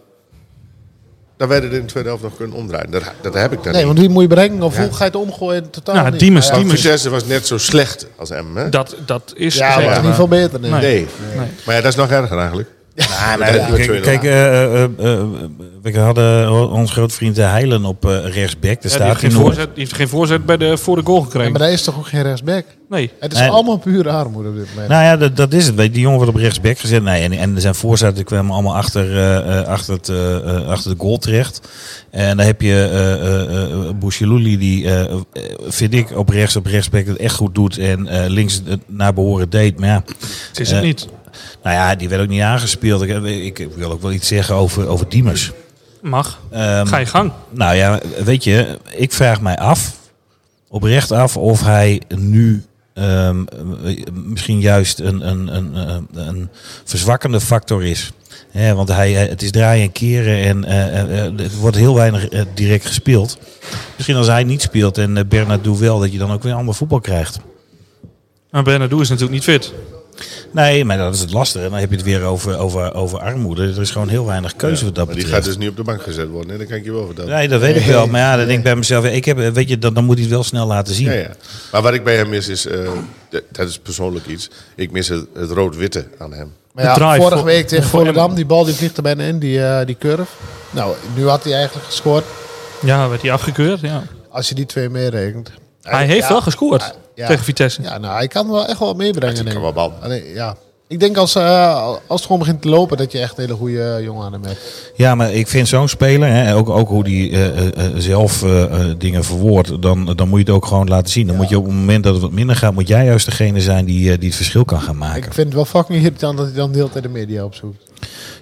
Speaker 6: dat wij dit in de tweede helft nog kunnen omdraaien. Dat, dat heb ik dan
Speaker 7: Nee,
Speaker 6: niet.
Speaker 7: want wie moet je bereiken? Of hoe ga je het omgooien? in Totaal
Speaker 5: Nou,
Speaker 7: niet.
Speaker 5: Diemers,
Speaker 7: Nou ja,
Speaker 5: Diemers.
Speaker 6: Vitesse was net zo slecht als Emmen. hè?
Speaker 5: Dat, dat is
Speaker 7: Ja,
Speaker 5: zeker
Speaker 7: maar het is
Speaker 5: waar.
Speaker 7: niet veel beter. Nee.
Speaker 5: Nee.
Speaker 6: Nee. Maar ja, dat is nog erger eigenlijk.
Speaker 8: Ja,
Speaker 6: maar dat-
Speaker 8: kijk, kijk, eh, eh, eh, eh, we hadden ons grootvriend De Heilen op eh, rechtsback. Daar
Speaker 5: Ja, die,
Speaker 8: staat
Speaker 5: heeft geen
Speaker 8: hij nog.
Speaker 5: voorzet, die heeft geen voorzet bij de, voor de goal
Speaker 7: Ja, maar
Speaker 5: gekregen.
Speaker 7: daar is toch ook geen rechtsback?
Speaker 5: Nee.
Speaker 7: Het is
Speaker 8: Nee.
Speaker 7: allemaal pure armoede op dit moment.
Speaker 8: Nou ja, dat, dat is het. Weet je, Die jongen wordt op rechtsback gezet. Nee, en, en zijn voorzetten kwamen allemaal achter, eh, eh, achter, het, eh, eh, achter de goal terecht. En dan heb je eh eh, eh, Bouchilouli, die eh, eh, vind ik op rechts op rechtsback het echt goed doet. En eh, links het naar behoren deed. Maar ja,
Speaker 5: Het is het
Speaker 8: Eh,
Speaker 5: niet.
Speaker 8: nou ja, die werd ook niet aangespeeld. Ik, ik, ik wil ook wel iets zeggen over, over Diemers.
Speaker 5: Mag.
Speaker 8: Ehm,
Speaker 5: Ga je gang.
Speaker 8: nou ja, weet je, ik vraag mij af, oprecht af, of hij nu ehm, eh, misschien juist een, een, een, een, een verzwakkende factor is. Hè, want hij, eh, het is draaien en keren en eh, eh, eh, het wordt heel weinig eh, direct gespeeld. Misschien als hij niet speelt en eh, Bernardo wel, dat je dan ook weer ander voetbal krijgt.
Speaker 5: Maar Bernardo is natuurlijk niet fit.
Speaker 8: Nee, maar dat is het lastige. En dan heb je het weer over, over, over armoede. Er is gewoon heel weinig keuze wat dat
Speaker 6: Maar die
Speaker 8: betreft.
Speaker 6: gaat dus niet op de bank gezet worden. hè? Dan kan ik je wel vertellen.
Speaker 8: Nee, dat weet ik wel. Maar ja, dan denk ik bij mezelf, ik heb, weet je, dan, dan moet hij het wel snel laten zien.
Speaker 6: Ja, ja. Maar wat ik bij hem mis is, eh, d- dat is persoonlijk iets. Ik mis het, het rood-witte aan hem.
Speaker 7: Maar
Speaker 5: De
Speaker 7: ja,
Speaker 5: drive
Speaker 7: vorige
Speaker 5: voor-
Speaker 7: week tegen
Speaker 5: voor
Speaker 7: Volendam, die bal die vliegt er bijna in, die, eh, die curve. Nou, nu had hij eigenlijk gescoord.
Speaker 5: Ja, werd hij afgekeurd. Ja.
Speaker 7: Als je die twee meerekent.
Speaker 5: Hij heeft
Speaker 7: Eh, ja, Ah,
Speaker 5: wel gescoord
Speaker 7: ja.
Speaker 5: tegen Vitesse.
Speaker 7: Ja, nou, hij kan wel echt wel wat meebrengen.
Speaker 6: Hij kan wel
Speaker 7: denk ik.
Speaker 6: bal.
Speaker 7: Alleen, ja. Ik denk als, eh, als het gewoon begint te lopen, dat je echt een hele goede eh, jongen aan hem hebt.
Speaker 8: Ja, maar ik vind zo'n speler, hè, ook, ook hoe die eh, eh, eh, zelf eh, eh, dingen verwoordt, dan, dan moet je het ook gewoon laten zien. Dan moet je op het moment dat het wat minder gaat, moet jij juist degene zijn die, eh, die het verschil kan gaan maken.
Speaker 7: Ik vind het wel fucking irritant dat hij dan de hele tijd de media opzoekt.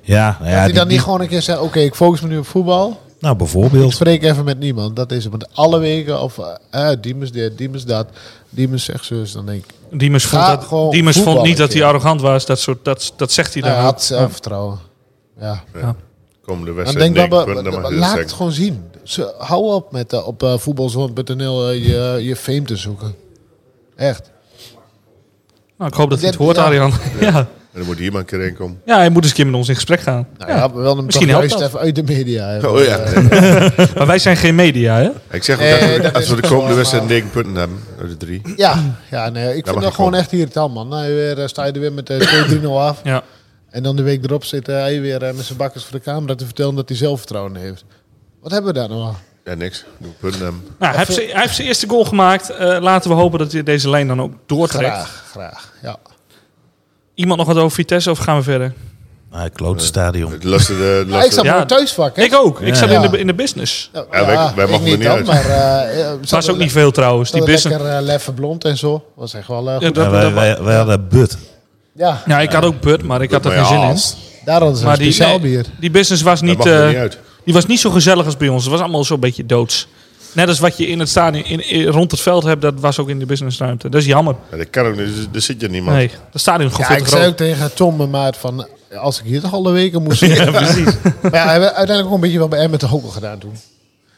Speaker 8: ja,
Speaker 7: dat
Speaker 8: nou ja,
Speaker 7: hij
Speaker 8: die-
Speaker 7: dan niet
Speaker 8: die-
Speaker 7: gewoon een keer zegt, oké, ik focus me nu op voetbal.
Speaker 8: Nou,
Speaker 7: Ik
Speaker 8: bijvoorbeeld.
Speaker 7: spreek even met niemand. Dat is het. Want alle weken, of eh eh, Diemers dit, Diemers dat, Diemers zegt zus. Dan denk ik,
Speaker 5: Diemers vond,
Speaker 7: Ga
Speaker 5: dat,
Speaker 7: gewoon
Speaker 5: Diemers vond
Speaker 7: voetballen,
Speaker 5: niet dat hij
Speaker 7: kerel.
Speaker 5: arrogant was. Dat, soort, dat, dat zegt hij
Speaker 7: hij
Speaker 5: dan ook.
Speaker 7: had zelfvertrouwen. Ja.
Speaker 6: Komende
Speaker 7: Dan
Speaker 6: wedstrijd
Speaker 7: denk ik,
Speaker 6: 9
Speaker 7: wel,
Speaker 6: punten,
Speaker 7: we-
Speaker 6: dan mag
Speaker 7: we-
Speaker 6: je dat
Speaker 7: laat het
Speaker 6: zeggen.
Speaker 7: gewoon zien. Ze, hou op met eh, op eh voetbalzone.nl eh, je, je fame te zoeken. Echt.
Speaker 5: Nou, ik hoop dat hij het
Speaker 7: Dit-
Speaker 5: hoort,
Speaker 7: ja.
Speaker 5: Arjan. Ja.
Speaker 6: En dan moet hier maar een keer heen komen.
Speaker 5: ja, hij moet eens een keer met ons in gesprek gaan.
Speaker 7: Nou ja, we wilden hem
Speaker 5: Misschien
Speaker 7: toch
Speaker 5: helpt
Speaker 7: juist
Speaker 5: dat.
Speaker 7: even uit de media. hebben.
Speaker 6: Oh ja.
Speaker 5: Maar wij zijn geen media, hè?
Speaker 6: Ik zeg ook,
Speaker 7: Nee,
Speaker 6: dat we-
Speaker 7: dat
Speaker 6: als
Speaker 7: is eh,
Speaker 6: we de
Speaker 7: toch
Speaker 6: komende
Speaker 7: wel,
Speaker 6: wedstrijd
Speaker 7: maar-
Speaker 6: 9 punten hebben, uit Oh, de drie.
Speaker 7: Ja, ja nee, ik
Speaker 6: mag
Speaker 7: vind
Speaker 6: ik
Speaker 7: dat gewoon
Speaker 6: wel.
Speaker 7: echt irritant, man. Nou, weer, eh, sta je er weer met eh 2-3-0 af.
Speaker 5: Ja.
Speaker 7: En dan de week erop zit hij weer eh, met zijn bakkers voor de camera te vertellen dat hij zelfvertrouwen heeft. Wat hebben we daar nou aan?
Speaker 6: Ja, niks. Doe punten hebben.
Speaker 5: Nou, hij, heeft zijn, hij heeft zijn eerste goal gemaakt. Eh, laten we hopen dat hij deze lijn dan ook doortrekt.
Speaker 7: Graag, graag. Ja.
Speaker 5: Iemand nog wat over Vitesse of gaan we verder?
Speaker 8: Nou,
Speaker 7: Eh,
Speaker 8: klote stadion.
Speaker 6: Het lastige- de
Speaker 7: Ja, Ah, ik
Speaker 6: lastige-
Speaker 7: zat
Speaker 5: Ja.
Speaker 7: bij een thuisvak, hè?
Speaker 5: Ik ook. Ik zat
Speaker 7: Ja.
Speaker 5: in, de, in de business.
Speaker 7: Ja,
Speaker 6: Ja, wij- wij mogen
Speaker 7: ik
Speaker 6: er niet
Speaker 7: dan,
Speaker 6: uit.
Speaker 7: Maar, eh, eh, we
Speaker 5: Dat was
Speaker 7: zaten
Speaker 5: ook niet veel trouwens. Die
Speaker 7: Die
Speaker 5: business.
Speaker 7: lekker eh Leffe Blond en zo. Was echt wel eh,
Speaker 5: Ja,
Speaker 7: goed.
Speaker 5: dat-
Speaker 8: Ja, wij,
Speaker 5: dat-
Speaker 8: wij, wij hadden But.
Speaker 7: Ja,
Speaker 5: Ja, ik had ook Bud, maar ik had er
Speaker 6: Maar
Speaker 5: geen
Speaker 6: ja,
Speaker 5: zin in.
Speaker 6: als-
Speaker 7: daar hadden ze een
Speaker 5: Maar die,
Speaker 7: speciaal
Speaker 5: nee,
Speaker 7: bier.
Speaker 5: die business was
Speaker 6: Dat
Speaker 5: niet,
Speaker 6: mag er
Speaker 5: eh,
Speaker 6: niet uit.
Speaker 5: die was niet zo gezellig als bij ons. Het was allemaal zo'n beetje doods. Net als wat je in het stadion in, in- rond het veld hebt, dat was ook in de businessruimte. Dat is jammer.
Speaker 6: Ja, dat kan ook niet, dus- er zit je niemand.
Speaker 5: Nee, dat stadion is
Speaker 7: Ja,
Speaker 5: gewoon
Speaker 7: ik
Speaker 5: veel te
Speaker 7: zei ook
Speaker 5: groot.
Speaker 7: tegen Tom en Maart van... eh, Als ik hier toch alle weken moest zitten. Maar ja, hebben we uiteindelijk ook een beetje wat bij Emmet de Hokel gedaan toen.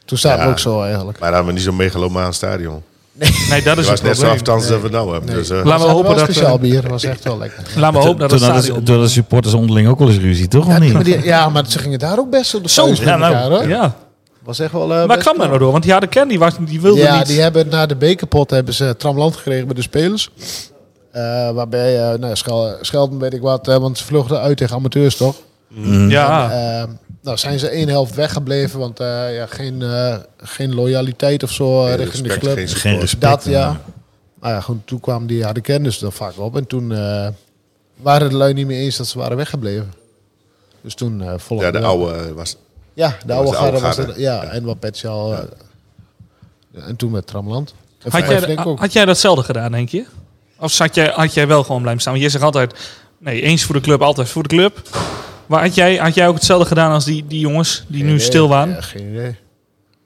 Speaker 7: Toen zaten
Speaker 6: Ja.
Speaker 7: we ook zo eigenlijk.
Speaker 6: Maar dan hebben we niet zo'n megalomaan stadion.
Speaker 5: Nee, dat
Speaker 6: Het
Speaker 5: is het
Speaker 6: was net zo
Speaker 5: probleem.
Speaker 6: afstands dat we nou hebben. Dus, eh,
Speaker 5: Laten we
Speaker 7: We hadden
Speaker 5: hopen
Speaker 7: wel
Speaker 5: dat...
Speaker 7: speciaal
Speaker 5: eh,
Speaker 7: bier. was echt wel lekker.
Speaker 5: Laten we hopen dat
Speaker 8: Toen
Speaker 5: het
Speaker 8: hadden,
Speaker 5: stadion...
Speaker 8: ze- toen hadden supporters onderling ook wel eens ruzie, toch? Of
Speaker 7: Maar
Speaker 8: niet?
Speaker 7: die- ja, maar ze gingen daar ook best wel de
Speaker 5: Zo,
Speaker 7: vuist
Speaker 8: ja,
Speaker 7: met
Speaker 8: nou,
Speaker 7: elkaar, hoor.
Speaker 5: Ja,
Speaker 7: Was echt wel... eh,
Speaker 5: waar
Speaker 7: best
Speaker 5: kwam dat
Speaker 7: knap.
Speaker 5: nou door? Want die harde kern, die, was, die wilde
Speaker 7: ja,
Speaker 5: niet.
Speaker 7: die hebben na de bekerpot hebben ze tramland gekregen bij de spelers. Eh, waarbij, eh, nou, ja, Schel- Schelden weet ik wat, eh, want ze vlogen uit tegen amateurs, toch?
Speaker 5: ja,
Speaker 7: Eh, nou zijn ze één helft weggebleven, want eh, ja, geen, eh, geen loyaliteit of zo eh,
Speaker 6: geen
Speaker 7: richting
Speaker 6: respect,
Speaker 7: de club.
Speaker 6: geen support.
Speaker 8: Geen respect.
Speaker 7: Dat ja. Maar ja, goed, toen kwamen die harde kennis er vaak op. En toen eh, waren de lui niet meer eens dat ze waren weggebleven. Dus toen eh volgde...
Speaker 6: Ja, de
Speaker 7: wel-
Speaker 6: oude eh, was...
Speaker 7: Ja, de
Speaker 6: was
Speaker 7: oude
Speaker 6: de
Speaker 7: garde
Speaker 6: oude
Speaker 7: was
Speaker 6: garde.
Speaker 7: er. Ja, en wat Petje al. eh, en toen met Tramland. En
Speaker 5: Had,
Speaker 7: Vijf,
Speaker 5: jij,
Speaker 7: denk ik ook.
Speaker 5: had jij datzelfde gedaan, denk je? Of zat jij, had jij wel gewoon blijven staan? Want je zegt altijd, nee, eens voor de club, altijd voor de club. Maar had jij, had jij ook hetzelfde gedaan als die, die jongens die nu
Speaker 7: Nee,
Speaker 5: stil waren?
Speaker 7: Ja, geen idee.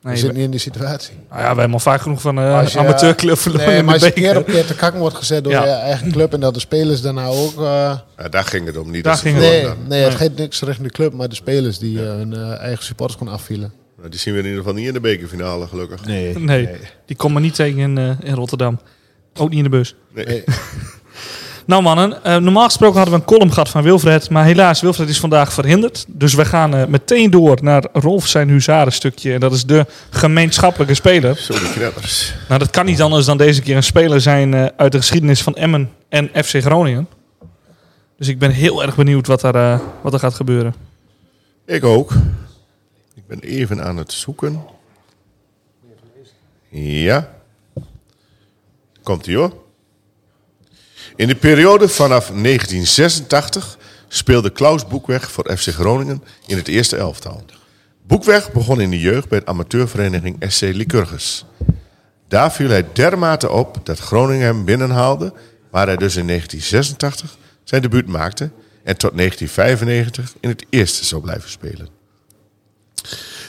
Speaker 7: Je
Speaker 5: nee,
Speaker 7: zit
Speaker 5: we-
Speaker 7: niet in die situatie.
Speaker 5: nou ja, we hebben al vaak genoeg van eh,
Speaker 7: Als je,
Speaker 5: amateurclub verloren
Speaker 7: Nee,
Speaker 5: in de
Speaker 7: maar als je keer
Speaker 5: beker.
Speaker 7: op keer te kakken wordt gezet door
Speaker 5: Ja.
Speaker 7: je eigen club en dat de spelers daarna ook... eh,
Speaker 6: Ja, daar ging het om, niet
Speaker 5: Daar
Speaker 6: dat ze
Speaker 5: ging
Speaker 6: verloren
Speaker 7: nee,
Speaker 6: hadden.
Speaker 7: nee, het geeft niks richting de club, maar de spelers die eh, hun eh, eigen supporters kon afvielen.
Speaker 6: Nou, Die zien we in ieder geval niet in de bekerfinale, gelukkig.
Speaker 8: Nee.
Speaker 5: Nee, die komt me niet tegen in, eh, in Rotterdam. Ook niet in de bus.
Speaker 6: Nee.
Speaker 7: Nee.
Speaker 5: Nee, Nou mannen, eh, normaal gesproken hadden we een column gehad van Wilfred. Maar helaas, Wilfred is vandaag verhinderd. Dus we gaan eh, meteen door naar Rolf zijn huzarenstukje. En dat is de gemeenschappelijke speler.
Speaker 6: Zo die knetters.
Speaker 5: Nou, dat kan niet anders dan deze keer een speler zijn eh, uit de geschiedenis van Emmen en FC Groningen. Dus ik ben heel erg benieuwd wat er, eh, wat er gaat gebeuren.
Speaker 6: Ik ook. Ik ben even aan het zoeken. Ja. Komt ie hoor. In de periode vanaf 1986 speelde Klaus Boekweg voor FC Groningen in het eerste elftal. Boekweg begon in de jeugd bij de amateurvereniging SC Lycurgus. Daar viel hij dermate op dat Groningen hem binnenhaalde, waar hij dus in 1986 zijn debuut maakte en tot 1995 in het eerste zou blijven spelen.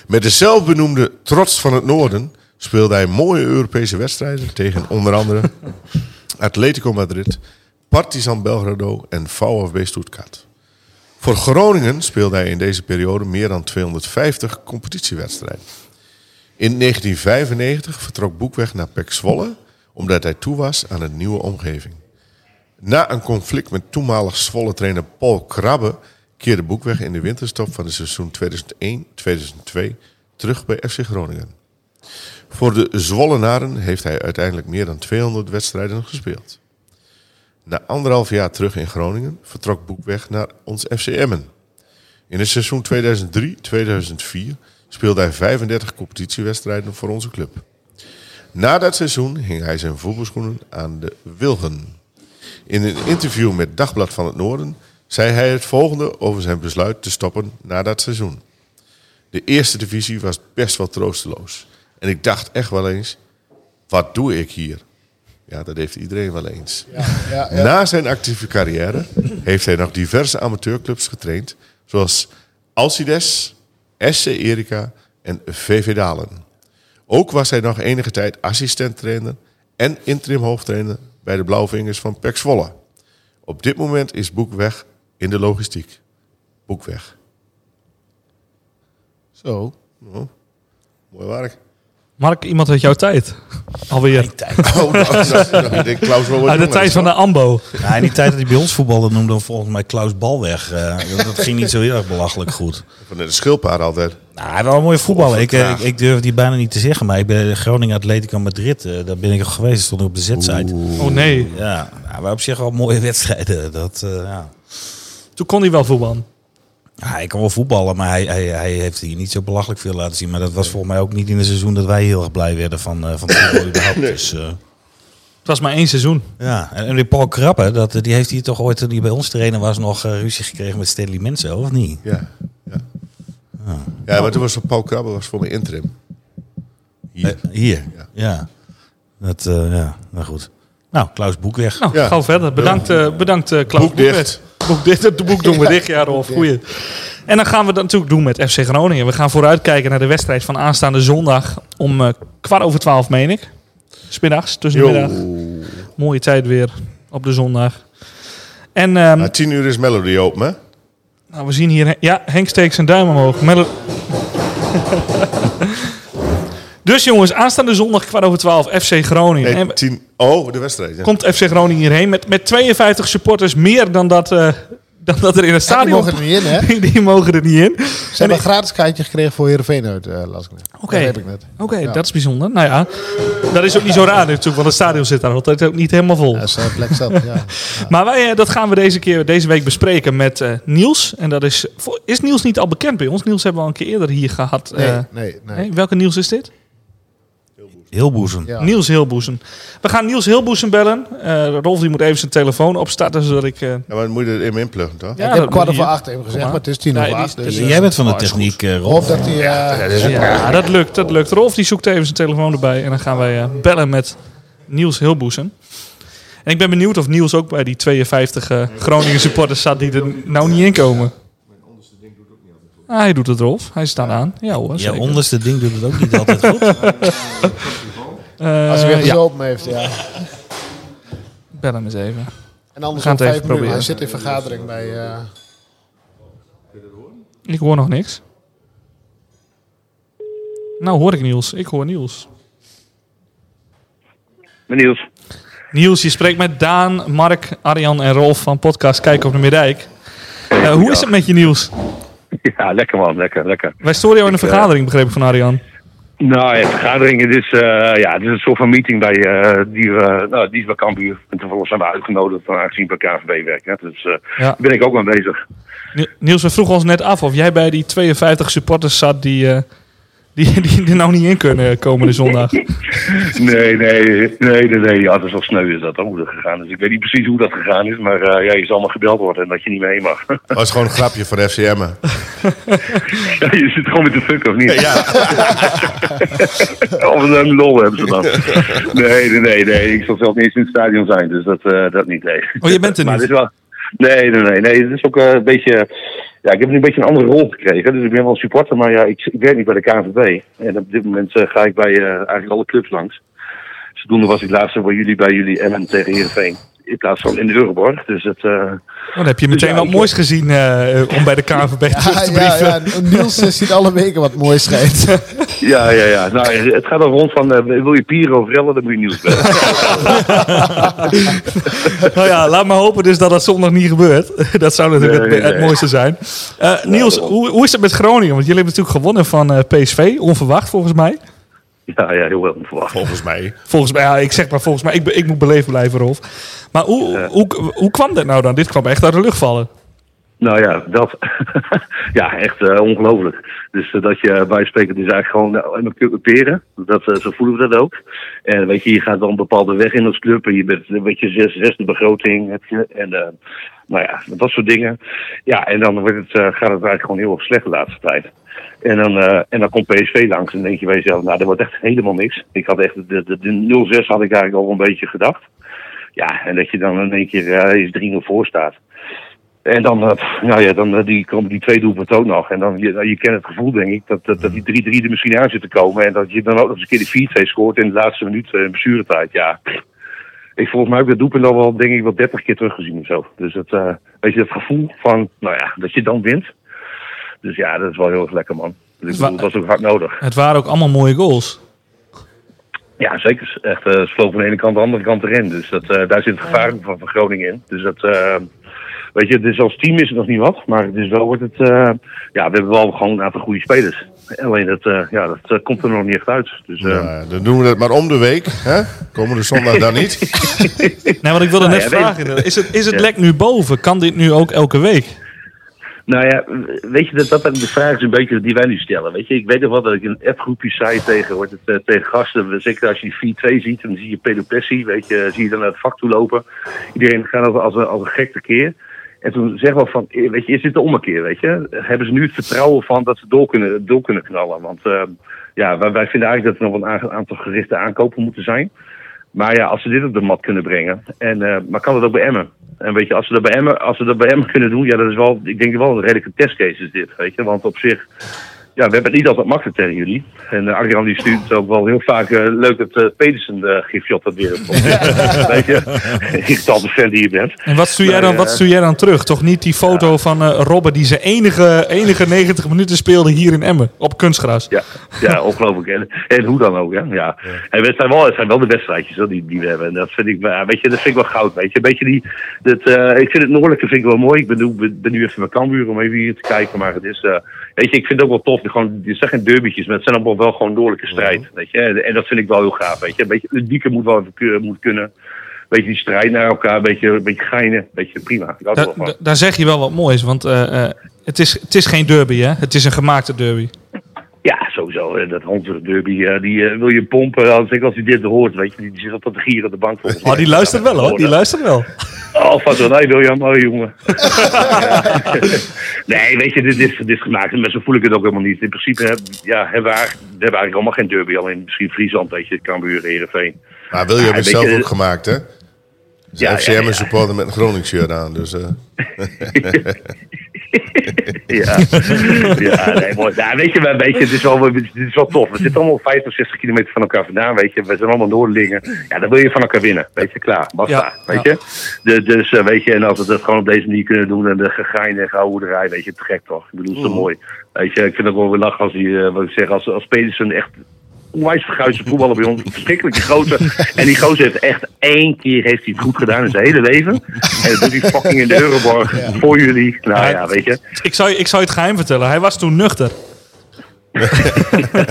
Speaker 6: Met de zelfbenoemde trots van het noorden speelde hij mooie Europese wedstrijden tegen onder andere Atletico Madrid, Partizan Belgrado en VfB Stuttgart. Voor Groningen speelde hij in deze periode meer dan 250 competitiewedstrijden. In 1995 vertrok Boekweg naar Pek Zwolle omdat hij toe was aan een nieuwe omgeving. Na een conflict met toenmalig Zwolle-trainer Paul Krabbe keerde Boekweg in de winterstop van het seizoen 2001-2002 terug bij FC Groningen. Voor de Zwollenaren heeft hij uiteindelijk meer dan 200 wedstrijden gespeeld. Na anderhalf jaar terug in Groningen vertrok Boekweg naar ons FC Emmen. In het seizoen 2003-2004 speelde hij 35 competitiewedstrijden voor onze club. Na dat seizoen hing hij zijn voetbalschoenen aan de wilgen. In een interview met Dagblad van het Noorden zei hij het volgende over zijn besluit te stoppen na dat seizoen. De eerste divisie was best wel troosteloos. En ik dacht echt wel eens, wat doe ik hier? Ja, dat heeft iedereen wel eens. Na zijn actieve carrière heeft hij nog diverse amateurclubs getraind, zoals Alcides, SC Erika en VV Dalen. Ook was hij nog enige tijd assistent-trainer en interim hoofdtrainer bij de Blauwvingers van Pek Zwolle. Op dit moment is Boekweg in de logistiek. Boekweg.
Speaker 7: Zo.
Speaker 6: Oh, mooi werk.
Speaker 5: Mark, iemand uit jouw tijd. Alweer.
Speaker 6: Oh, nou, nou, nou, ik denk Klaus wel wat
Speaker 5: Uit Ah, de
Speaker 6: jonger
Speaker 5: tijd
Speaker 6: is,
Speaker 5: van de
Speaker 6: hoor.
Speaker 5: Ambo.
Speaker 8: Ja, Nou, in die tijd dat hij bij ons voetbalde noemde hij volgens mij Klaus Balweg. Eh, dat- dat ging niet zo heel erg belachelijk goed.
Speaker 6: Van de schildpaard altijd.
Speaker 8: Nou, hij was een mooie voetballer. Ik, eh,
Speaker 6: Graag.
Speaker 8: ik, ik durf die bijna niet te zeggen, maar ik ben Groningen Atletico Madrid. eh, daar ben ik al geweest, stond ik op de Z-site.
Speaker 5: Oh nee,
Speaker 8: Ja, nou, maar op zich wel mooie wedstrijden. Dat, eh, ja.
Speaker 5: toen kon hij wel voetballen.
Speaker 8: Ja, hij kan wel voetballen, maar hij, hij, hij heeft hier niet zo belachelijk veel laten zien. Maar dat was volgens mij ook niet in het seizoen dat wij heel erg blij werden van, eh van het voetbal überhaupt. Dus, eh,
Speaker 5: Het was maar één seizoen.
Speaker 8: ja. En, en die Paul Krabbe, dat, eh, die heeft hier toch ooit, toen hij bij ons trainer was, nog eh, ruzie gekregen met Stanley Mensen, of niet?
Speaker 6: Ja, ja. ja maar toen was Paul Krabbe was voor mijn interim. Hier.
Speaker 8: Eh, hier,
Speaker 6: Ja.
Speaker 8: ja. Dat, eh, ja, nou goed. Nou, Klaus Boekweg.
Speaker 5: Nou,
Speaker 6: Ja.
Speaker 5: gauw verder. Bedankt, eh bedankt eh Klaus
Speaker 6: Boek dicht.
Speaker 5: Boekwet. Boek dicht. Het boek doen we dicht, ja Rolf. Goeie. En dan gaan we dat natuurlijk doen met FC Groningen. We gaan vooruitkijken naar de wedstrijd van aanstaande zondag om eh kwart over twaalf, meen ik. Smiddags, tussen de middag. Mooie tijd weer op de zondag. En ehm,
Speaker 6: Na tien uur is Melody open, hè?
Speaker 5: nou, we zien hier... Ja, Henk steekt zijn duim omhoog. Melo- dus jongens, aanstaande zondag kwart over twaalf, FC Groningen. En-
Speaker 6: Nee, tien... Oh, de wedstrijd. Ja.
Speaker 5: komt FC Groningen hierheen met, met 52 supporters meer dan dat, eh, dan dat er in het
Speaker 7: Ja, die
Speaker 5: stadion...
Speaker 7: mogen er niet in, hè? Ze
Speaker 5: die mogen er niet in.
Speaker 7: hebben een gratis kaartje gekregen voor Heerenveen uit, eh las ik net.
Speaker 5: Oké. Oh.
Speaker 7: Dat heb ik net.
Speaker 5: Oké, dat is bijzonder. Nou ja, dat is ook niet zo raar natuurlijk, want het stadion zit daar altijd ook niet helemaal vol.
Speaker 7: Ja, ze hebben plek zat, ja.
Speaker 5: Maar wij, eh, dat gaan we deze, keer, deze week bespreken met eh, Niels. En dat is, voor- is Niels niet al bekend bij ons? Niels hebben we al een keer eerder hier gehad. eh,
Speaker 7: Nee, nee, nee.
Speaker 5: nee? Welke Niels is dit?
Speaker 8: Heel boezem.
Speaker 7: Ja.
Speaker 5: Niels Hilboezem. We gaan Niels Hilboezem bellen. Eh, Rolf die moet even zijn telefoon opstarten, zodat ik... eh,
Speaker 6: Ja, maar dan moet je er even inpluggen, toch?
Speaker 5: ja,
Speaker 7: ik heb
Speaker 5: dat
Speaker 7: kwart
Speaker 5: moet
Speaker 7: over
Speaker 5: hier-
Speaker 7: acht even gezegd,
Speaker 5: maar.
Speaker 7: maar het is tien
Speaker 5: Nee,
Speaker 7: over
Speaker 5: die-
Speaker 7: acht. Dus,
Speaker 5: die-
Speaker 7: eh,
Speaker 8: Jij bent van de techniek, eh,
Speaker 7: ik
Speaker 8: Rolf.
Speaker 7: hoop dat hij... eh
Speaker 5: Ja, dat lukt, dat lukt. Rolf die zoekt even zijn telefoon erbij en dan gaan wij eh, bellen met Niels Hilboezem. En ik ben benieuwd of Niels ook bij die 52 eh, Groningen supporters zat die er nou niet in komen. Ah, hij doet het, Rolf. Hij staat aan. Ja hoor,
Speaker 8: Je
Speaker 5: zeker.
Speaker 8: onderste ding doet het ook niet altijd goed.
Speaker 5: Eh,
Speaker 7: als hij weer
Speaker 5: ja,
Speaker 7: gezopen heeft, ja.
Speaker 5: bel hem eens even.
Speaker 7: En anders
Speaker 5: gaan
Speaker 7: om
Speaker 5: het
Speaker 7: vijf
Speaker 5: even
Speaker 7: minuten.
Speaker 5: proberen.
Speaker 7: Hij zit in vergadering bij... eh,
Speaker 5: Ik hoor nog niks. Nou hoor ik Niels. Ik hoor Niels.
Speaker 9: Niels.
Speaker 5: Niels, je spreekt met Daan, Mark, Arjan en Rolf van podcast Kijk op de Middijk. Eh, hoe is het met je, Niels?
Speaker 9: Ja, lekker man, lekker, lekker.
Speaker 5: Wij storen jou in een vergadering, begreep ik van Arjan.
Speaker 9: Nou ja, vergadering, het is, eh, ja, het is een soort van meeting bij eh die, eh, nou, die is bij Kambuur. En toevallig zijn we uitgenodigd eh, aangezien we bij KVB werken. hè. Dus eh
Speaker 5: Ja.
Speaker 9: ben ik ook aanwezig.
Speaker 5: Ni- Niels, we vroegen ons net af of jij bij die 52 supporters zat die, eh, die, die er nou niet in kunnen komende zondag. Nou,
Speaker 9: Nee, nee, nee, nee, nee. Ja, dat is wel sneu is dat, hè, hoe dat gegaan is. Ik weet niet precies hoe dat gegaan is, maar eh, ja, je zal maar gebeld worden en dat je niet mee mag.
Speaker 6: Dat Oh, is gewoon een grapje van FCM.
Speaker 9: Ja, je zit gewoon met de fuck, of niet?
Speaker 6: Ja.
Speaker 9: of een eh, lol hebben ze dan. Nee, nee, nee, nee. Ik zal zelf niet eens in het stadion zijn, dus dat, eh, dat niet, nee.
Speaker 5: Oh, je bent er
Speaker 9: Maar het
Speaker 5: niet.
Speaker 9: is wel... Nee, nee, nee, nee. Het is ook eh, een beetje... Ja, ik heb nu een beetje een andere rol gekregen. Dus ik ben wel supporter, maar ja, ik, ik werk niet bij de KNVB. En op dit moment eh, ga ik bij eh, eigenlijk alle clubs langs. Zodoende was ik laatst ook bij jullie, bij jullie en tegen Heerenveen. In plaats van in de Euroborg. Dus het... eh,
Speaker 5: Oh, dan heb je meteen wat moois gezien eh, om bij de KNVB terug te
Speaker 7: ja,
Speaker 5: brieven.
Speaker 7: ja, Niels eh, ziet alle weken wat moois schijnt.
Speaker 9: ja, ja, ja. Nou, het gaat al rond van... eh, wil je pieren of rellen, dan moet je nieuws bellen.
Speaker 5: Nou ja, laat maar hopen dus dat dat zondag niet gebeurt. Dat zou natuurlijk
Speaker 9: Nee,
Speaker 5: het, het
Speaker 9: nee.
Speaker 5: mooiste zijn. Eh, Niels, hoe, hoe is het met Groningen? Want jullie hebben natuurlijk gewonnen van eh, PSV. Onverwacht volgens mij.
Speaker 9: ja, ja, heel onverwacht.
Speaker 6: Volgens mij.
Speaker 5: Volgens mij, ja, ik zeg maar volgens mij. Ik, be- ik moet beleefd blijven, Rolf. Maar hoe, hoe, hoe kwam dat nou dan? Dit kwam echt uit de lucht vallen.
Speaker 9: Nou ja, dat. ja, echt eh, ongelooflijk. Dus eh, dat je bij spreken, het is eigenlijk gewoon nou, en dan peren. Dat, eh, zo voelen we dat ook. En weet je, je gaat wel een bepaalde weg in als club. En je bent een beetje zes, zesde begroting. Heb je, en eh, nou ja, dat soort dingen. Ja, en dan wordt het, eh, gaat het eigenlijk gewoon heel erg slecht de laatste tijd. En dan, eh, en dan komt PSV langs. En dan denk je bij jezelf, nou, dat wordt echt helemaal niks. Ik had echt, de, de, de 0-6 had ik eigenlijk al een beetje gedacht. Ja, en dat je dan in één keer eh, eens 3-0 voor staat. En dan, eh, pff, nou ja, dan eh, die, komen die twee doelpunten ook nog. En dan, je, nou, je kent het gevoel, denk ik, dat, dat, dat die 3-3 er misschien aan zit te komen. En dat je dan ook nog eens een keer de 4-2 scoort in de laatste minuut eh, in blessuretijd. Ja, pff. ik volgens mij heb ik dat doelpunt al wel, denk ik, wel 30 keer teruggezien of zo. Dus dat, eh, weet je, dat gevoel van, nou ja, dat je dan wint. Dus ja, dat is wel heel erg lekker, man. Dus ik bedoel, dat was ook hard nodig.
Speaker 5: Het waren ook allemaal mooie goals.
Speaker 9: Ja, zeker. Echt, eh sloop van de ene kant de andere kant erin. Dus dat, eh, daar zit het gevaar van, van Groningen in. Dus dat, eh, weet je, dus als team is het nog niet wat. Maar het is wel wordt het, eh, ja, we hebben wel gewoon een aantal goede spelers. Alleen dat, eh, ja, dat eh, komt er nog niet echt uit. Dus, eh,
Speaker 6: Ja, dan doen we dat maar om de week. Hè? Komende zondag dan niet.
Speaker 5: Nee, want ik wilde net
Speaker 9: Nou ja, weet-
Speaker 5: vragen. inderdaad. Is het, is het
Speaker 9: Ja.
Speaker 5: lek nu boven? Kan dit nu ook elke week?
Speaker 9: Nou ja, weet je, dat, dat de vraag is een beetje die wij nu stellen. Weet je, ik weet nog wel dat ik in appgroepjes zei tegen, wordt het, eh, tegen gasten. Zeker als je die 4-2 ziet, dan zie je pedopressie. Weet je, zie je dan naar het vak toe lopen. Iedereen gaat als, als, een- als een gek tekeer. En toen zeggen we van, eh, weet je, is dit de ommekeer, weet je? Hebben ze nu het vertrouwen van dat ze door kunnen, door kunnen knallen? Want eh, ja, wij, wij vinden eigenlijk dat er nog een aange- aantal gerichte aankopen moeten zijn. Maar ja, als ze dit op de mat kunnen brengen. En, eh, maar kan dat ook bij Emmen? En weet je, als ze dat bij Emmen, als ze dat bij Emmen kunnen doen, ja, dat is wel, ik denk wel een redelijke testcase is dit, weet je. Want op zich, ja, we hebben het niet altijd makkelijk tegen jullie. En eh, Arjan die stuurt ook wel heel vaak eh, leuk dat eh, Pedersen eh, gifjot dat weer op. weet je, irritante fan die je bent.
Speaker 5: En wat stuur, jij
Speaker 9: Nee,
Speaker 5: dan, wat
Speaker 9: eh.
Speaker 5: stuur jij dan terug? Toch niet die foto van eh Robben die zijn enige, enige 90 minuten speelde hier in Emmen. Op kunstgras.
Speaker 9: Ja, ja ongelooflijk. En, en hoe dan ook, hè? Ja. En het zijn wel, het zijn wel de wedstrijdjes hoor, die, die we hebben. En dat vind ik, ja, weet je, dat vind ik wel goud. Weet je, een beetje die, dat, eh, ik vind het noordelijke vind ik wel mooi. Ik ben, nu- ben, ben nu even bij Cambuur om even hier te kijken. Maar het is, eh, weet je, ik vind het ook wel tof. Gewoon, het zijn geen derbytjes, maar het zijn allemaal wel gewoon noordelijke strijd. Weet je? En, en dat vind ik wel heel gaaf. Weet je, een beetje, het dieke moet wel even ku- moet kunnen. Beetje die strijd naar elkaar, een beetje, een beetje geinen. Beetje prima. Ik hou er
Speaker 5: Da-
Speaker 9: wel van.
Speaker 5: da- daar zeg je wel wat moois, want eh, eh, het, is, het is geen derby, hè? Het is een gemaakte derby.
Speaker 9: Ja, sowieso. Eh, Dat Hondsburg derby, eh, die eh, wil je pompen. Als ik als hij dit hoort, weet je, die, die zit altijd te gieren op de bank. volgens mij.
Speaker 5: Oh, die luistert wel, hoor. Die luistert wel.
Speaker 9: Oh, vast wel. Nee, William, oh jongen. nee, weet je, dit is, dit is gemaakt. Maar zo voel ik het ook helemaal niet. In principe heb, ja, hebben, we eigenlijk, we hebben eigenlijk allemaal geen derby. Alleen misschien Friesland, weet je, Cambuur, Heerenveen.
Speaker 6: Maar William
Speaker 9: Ja,
Speaker 6: is
Speaker 9: weet
Speaker 6: zelf
Speaker 9: je,
Speaker 6: ook gemaakt, hè? Dus
Speaker 9: Ja,
Speaker 6: FCM
Speaker 9: ja, ja.
Speaker 6: is supporter met een Groningen shirt aan. Dus, eh,
Speaker 9: Ja, ja nee, mooi. Ja, weet je, maar, weet je, het is wel, het is wel tof. We zitten allemaal 50, 60 kilometer van elkaar vandaan, weet je. We zijn allemaal Noordelingen. Ja, dan wil je van elkaar winnen. Weet je, klaar. Basta,
Speaker 5: Ja,
Speaker 9: weet je. De- dus, eh, weet je, en als we dat gewoon op deze manier kunnen doen... en de gegein en gehoederij, weet je, te gek toch. Ik bedoel, het is zo mooi. Weet je, ik vind het ook wel weer lachen als die, eh, wat ik zeg, als, als Pedersen echt onwijs verguisde voetballer bij ons. Een verschrikkelijke grote. En die gozer heeft echt één keer heeft hij het goed gedaan in zijn hele leven. En dat doet hij fucking in de Euroborg voor jullie. Nou ja, weet je.
Speaker 5: Ik zou, ik zou je het geheim vertellen. Hij was toen nuchter.
Speaker 9: Ja,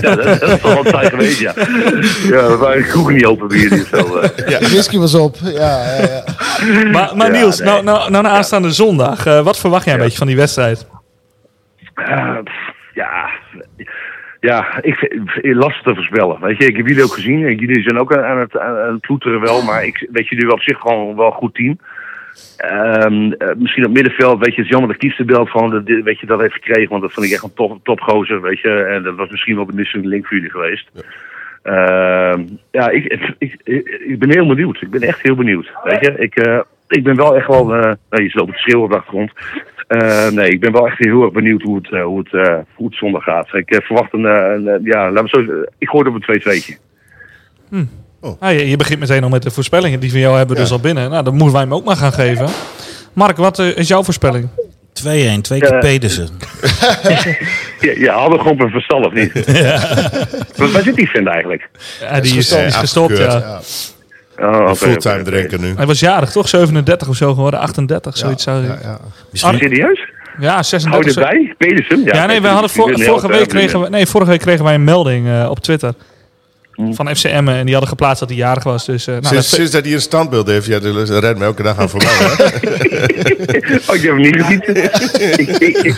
Speaker 9: dat, dat is toch wel een tijd geweest, ja. Ja, we waren kroegen niet open bij jullie of zo. eh.
Speaker 7: Whisky was op. Ja, ja, ja.
Speaker 5: Maar, maar
Speaker 9: Ja,
Speaker 5: Niels,
Speaker 9: nee.
Speaker 5: nou, nou, nou na aanstaande zondag. eh, wat verwacht jij een
Speaker 9: Ja.
Speaker 5: beetje van die wedstrijd?
Speaker 9: Eh, pff, ja, ja ik, vind- ik- lastig te voorspellen. Weet je, ik heb jullie ook gezien. en Jullie zijn ook aan- aan het, aan aan het ploeteren wel. Maar ik weet jullie wel op zich gewoon wel een goed team. Ehm, eh, misschien op middenveld, weet je, het is jammer dat Kieftenbelt gewoon dat, weet je, dat heeft gekregen. Want dat vond ik echt een top, topgozer, weet je. En dat was misschien wel de missing link voor jullie geweest. Ehm, ja, ik, ik, ik, ik ben heel benieuwd. Ik ben echt heel benieuwd. Weet je, ik, eh, ik ben wel echt wel. eh nee, je loopt te schreeuwen op de achtergrond. Eh, nee, ik ben wel echt heel erg benieuwd hoe het, eh, hoe het, eh, hoe het zondag gaat. Ik eh, verwacht een. eh, een, eh, ja, laat me zo zeggen, Ik gooi het op een 2-2'tje.
Speaker 5: Ah, je, je begint meteen al met de voorspellingen die we jou hebben
Speaker 6: Ja.
Speaker 5: dus al binnen. Nou, dan moeten wij hem ook maar gaan geven. Mark, wat eh, is jouw voorspelling?
Speaker 8: 2-1, twee keer
Speaker 9: Ja.
Speaker 8: Pedersen.
Speaker 9: Je, je haalde gewoon een verstand, of niet? Ja. Waar zit die vent eigenlijk?
Speaker 5: Ja, die is, die is
Speaker 6: Eh,
Speaker 5: gestopt,
Speaker 6: afgekeurd.
Speaker 5: ja.
Speaker 9: Oh, oké,
Speaker 6: Fulltime
Speaker 9: oké, oké.
Speaker 6: drinken nu.
Speaker 5: Hij was jarig, toch? 37 of zo geworden, 38, zoiets zou
Speaker 7: ja,
Speaker 5: hij.
Speaker 7: ja.
Speaker 8: Misschien,
Speaker 9: Serieus?
Speaker 5: Ja,
Speaker 9: Hou
Speaker 5: 36.
Speaker 9: je erbij? Pedersen?
Speaker 5: Ja, nee, we
Speaker 9: ik-
Speaker 5: hadden
Speaker 9: ik
Speaker 5: vor-
Speaker 9: ben heel
Speaker 5: vorige,
Speaker 9: erg
Speaker 5: week
Speaker 9: benieuwd.
Speaker 5: kregen we, nee, vorige week kregen wij een melding eh, op Twitter. Van FCM en die hadden geplaatst dat hij jarig was. Dus, eh, nou,
Speaker 6: Sinds,
Speaker 5: dat-
Speaker 6: sinds dat hij een standbeeld heeft, ja, de red me elke dag aan voor mij. hè.
Speaker 9: Oh, ik heb hem niet gezien. ik, ik, ik,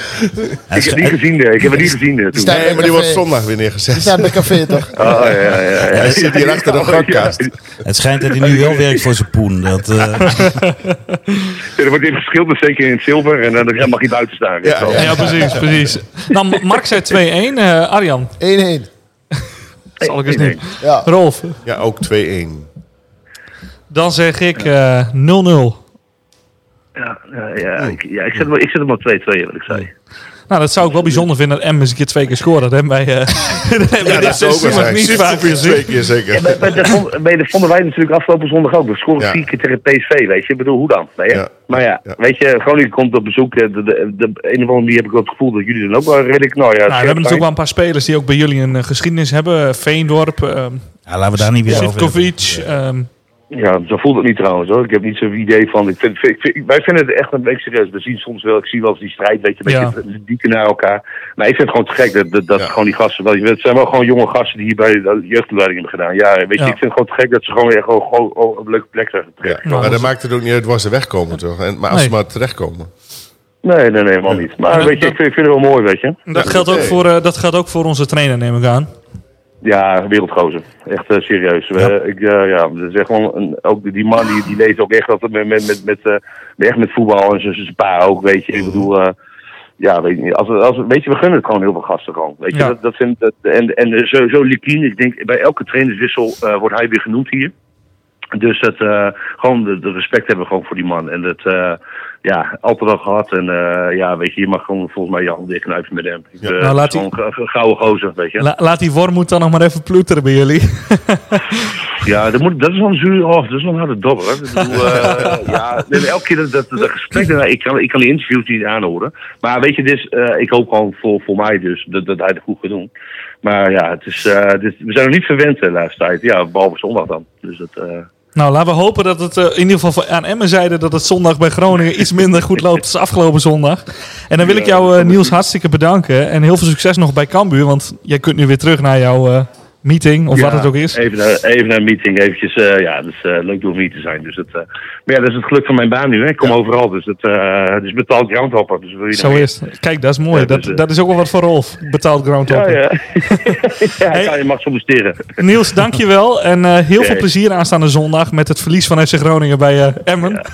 Speaker 9: ik heb niet gezien, eh, ik heb hem niet gezien eh, toen.
Speaker 7: Staat-
Speaker 6: Nee, maar die wordt zondag weer neergezet.
Speaker 7: Die staat bij café toch?
Speaker 9: Oh, ja, ja, ja. ja.
Speaker 6: Hij zit hier achter de podcast.
Speaker 8: Het schijnt dat hij nu wel werkt voor zijn poen. Dat, eh,
Speaker 9: Er wordt in verschil, dus zeker in het zilver. En dan ja, mag hij buiten staan. weet je wel.
Speaker 6: Ja,
Speaker 5: ja, precies, precies. Nou, Ma- Mark zei 2-1. eh, Arjan,
Speaker 7: 1-1.
Speaker 5: dat zal ik eens
Speaker 9: Nee,
Speaker 5: niet.
Speaker 7: Ja.
Speaker 5: Rolf,
Speaker 6: Ja, ook 2-1.
Speaker 5: dan zeg ik eh, 0-0.
Speaker 9: Ja, ja, ja, ik, ja, ik zet hem, ik zet hem op 2-2, wat ik zei.
Speaker 5: Nou, dat zou ik wel bijzonder vinden dat M eens een keer twee keer scoren. Dat hebben wij, eh, dat hebben wij dit
Speaker 6: zou ook
Speaker 5: seizoen
Speaker 6: wel
Speaker 5: nog
Speaker 6: zijn.
Speaker 5: niet vaak
Speaker 6: Twee
Speaker 5: gezien.
Speaker 6: keer zeker.
Speaker 9: Maar, maar dat, vond- maar dat vonden wij natuurlijk afgelopen zondag ook. We scoren
Speaker 6: Ja.
Speaker 9: vier keer tegen PSV, weet je. Ik bedoel, hoe dan? Weet je?
Speaker 6: Ja.
Speaker 9: Maar ja,
Speaker 6: Ja.
Speaker 9: weet je, Groningen komt op bezoek. eh, De, de, de, op een of andere manier heb ik wel het gevoel dat jullie dan ook wel redelijk... Nou ja,
Speaker 5: Nou, we hebben natuurlijk wel een paar spelers die ook bij jullie een eh, geschiedenis hebben. Veendorp, ehm
Speaker 8: ja, laten we daar niet weer over hebben.
Speaker 5: Sivkovic. ehm,
Speaker 9: Ja, zo voelt het niet trouwens hoor. Ik heb niet zo'n idee van. Ik vind, vind- vind- wij vinden het echt een beetje serieus. We zien soms wel, ik zie wel eens die strijd, weet je, een
Speaker 5: Ja.
Speaker 9: beetje dieken naar elkaar. Maar ik vind het gewoon te gek dat, dat, dat
Speaker 6: Ja.
Speaker 9: gewoon die gasten. wel- Het zijn wel gewoon jonge gasten die hier bij de jeugdopleiding hebben gedaan. Ja, weet je,
Speaker 5: Ja.
Speaker 9: ik vind het gewoon te gek dat ze gewoon weer gewoon, gewoon op een leuke plek zijn
Speaker 6: Ja.
Speaker 9: terecht.
Speaker 6: Maar dat maakt het ook niet uit waar ze wegkomen, toch? En, maar als
Speaker 5: Nee.
Speaker 6: ze maar terechtkomen.
Speaker 9: Nee, nee, nee, helemaal niet. Maar
Speaker 5: Ja,
Speaker 9: weet je,
Speaker 5: dat-
Speaker 9: ik vind, ik vind het wel mooi, weet je.
Speaker 5: dat, geldt ook
Speaker 6: oké.
Speaker 5: voor, eh, dat geldt ook voor onze trainer, neem ik aan.
Speaker 9: Ja, wereldgozer. Echt eh, serieus. We, eh, ik, eh, ja, dat is echt gewoon een, ook die- die man die, die leest ook echt dat het met, met, met, met, eh, echt met voetbal en zijn- zijn pa ook, weet
Speaker 5: Mhm.
Speaker 9: je. Ik bedoel, eh, ja, weet je, niet. als, we- als, we- weet je, we gunnen het gewoon heel veel gasten gewoon. Weet je,
Speaker 5: Ja.
Speaker 9: dat, dat vind, dat, en, en zo, zo Likien, ik denk bij elke trainerswissel eh, wordt hij weer genoemd hier. Dus dat, eh, gewoon de, de respect hebben we gewoon voor die man. En dat, eh, ja, altijd al gehad. En eh, ja, weet je, je mag gewoon volgens mij je handen dicht knijpen met hem. Ik, eh,
Speaker 5: Nou, laat
Speaker 9: gewoon een g- gouden gozer, weet je.
Speaker 5: La- laat die Wormoed dan nog maar even ploeteren bij jullie.
Speaker 9: Ja, dat, moet, dat is wel een zuur, oh, dat is wel een harde dobber. Hè. Ik bedoel, eh, ja, nee, maar elke keer dat, dat, dat gesprek, nou, ik kan, ik kan die interviews niet aanhoren. Maar weet je, dus, eh, ik hoop gewoon voor, voor mij dus dat, dat hij het goed gaat doen. Maar ja, het is, eh, dit- we zijn nog niet verwend eh, de laatste tijd. Ja, behalve zondag dan. Dus dat, eh,
Speaker 5: Nou, laten we hopen dat het eh, in ieder geval voor- aan Emmen zijde dat het zondag bij Groningen iets minder goed loopt als afgelopen zondag. En dan wil ik jou, eh, Niels, hartstikke bedanken. En heel veel succes nog bij Cambuur, want jij kunt nu weer terug naar jouw eh, meeting of wat
Speaker 9: ja,
Speaker 5: het ook is.
Speaker 9: Even naar, even naar een meeting, eventjes. eh, ja, dat is eh, leuk om hier te zijn. Dus dat, eh, maar ja, dat is het geluk van mijn baan nu. Hè. Ik kom overal, dus dat, eh, het is betaald groundhopper. Dus wil je
Speaker 5: Zo
Speaker 9: nou-
Speaker 5: is het. Kijk, dat is mooi.
Speaker 9: Ja,
Speaker 5: dat,
Speaker 9: dus, eh,
Speaker 5: dat is ook wel wat voor Rolf, betaald
Speaker 9: Ja,
Speaker 5: groundhopper.
Speaker 9: Oh, ja. ja, ik ga je mag soms steren.
Speaker 5: Niels, dankjewel. En eh, heel veel
Speaker 9: Oké.
Speaker 5: plezier aanstaande zondag met het verlies van FC Groningen bij eh, Emmen.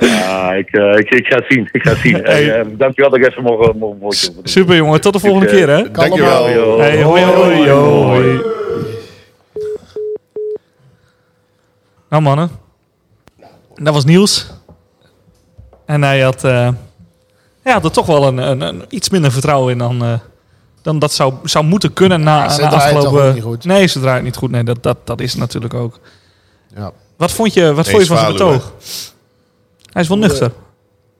Speaker 9: Ja, ik, eh, ik, ik ga het zien. Ik ga het zien. Hey, eh, dankjewel dat ik even mocht mocht- mocht mocht- mocht-
Speaker 5: Super jongen, tot de volgende
Speaker 9: eh,
Speaker 5: keer hè.
Speaker 6: Dankjewel.
Speaker 9: Yo.
Speaker 5: Hey, hoi, hoi, hoi. Nou mannen, dat was Niels. En hij had, eh, hij had er toch wel een, een, een iets minder vertrouwen in dan, eh, dan dat zou, zou moeten kunnen na,
Speaker 7: ze
Speaker 5: na
Speaker 7: draait toch
Speaker 5: afgelopen...
Speaker 7: ook niet goed?
Speaker 5: Nee, ze draait niet goed. Nee, dat, dat, dat is het natuurlijk ook.
Speaker 7: Ja.
Speaker 5: Wat vond je, wat
Speaker 6: Nee,
Speaker 5: vond je van zijn
Speaker 6: Zwaluw,
Speaker 5: betoog? Hij is wel nuchter.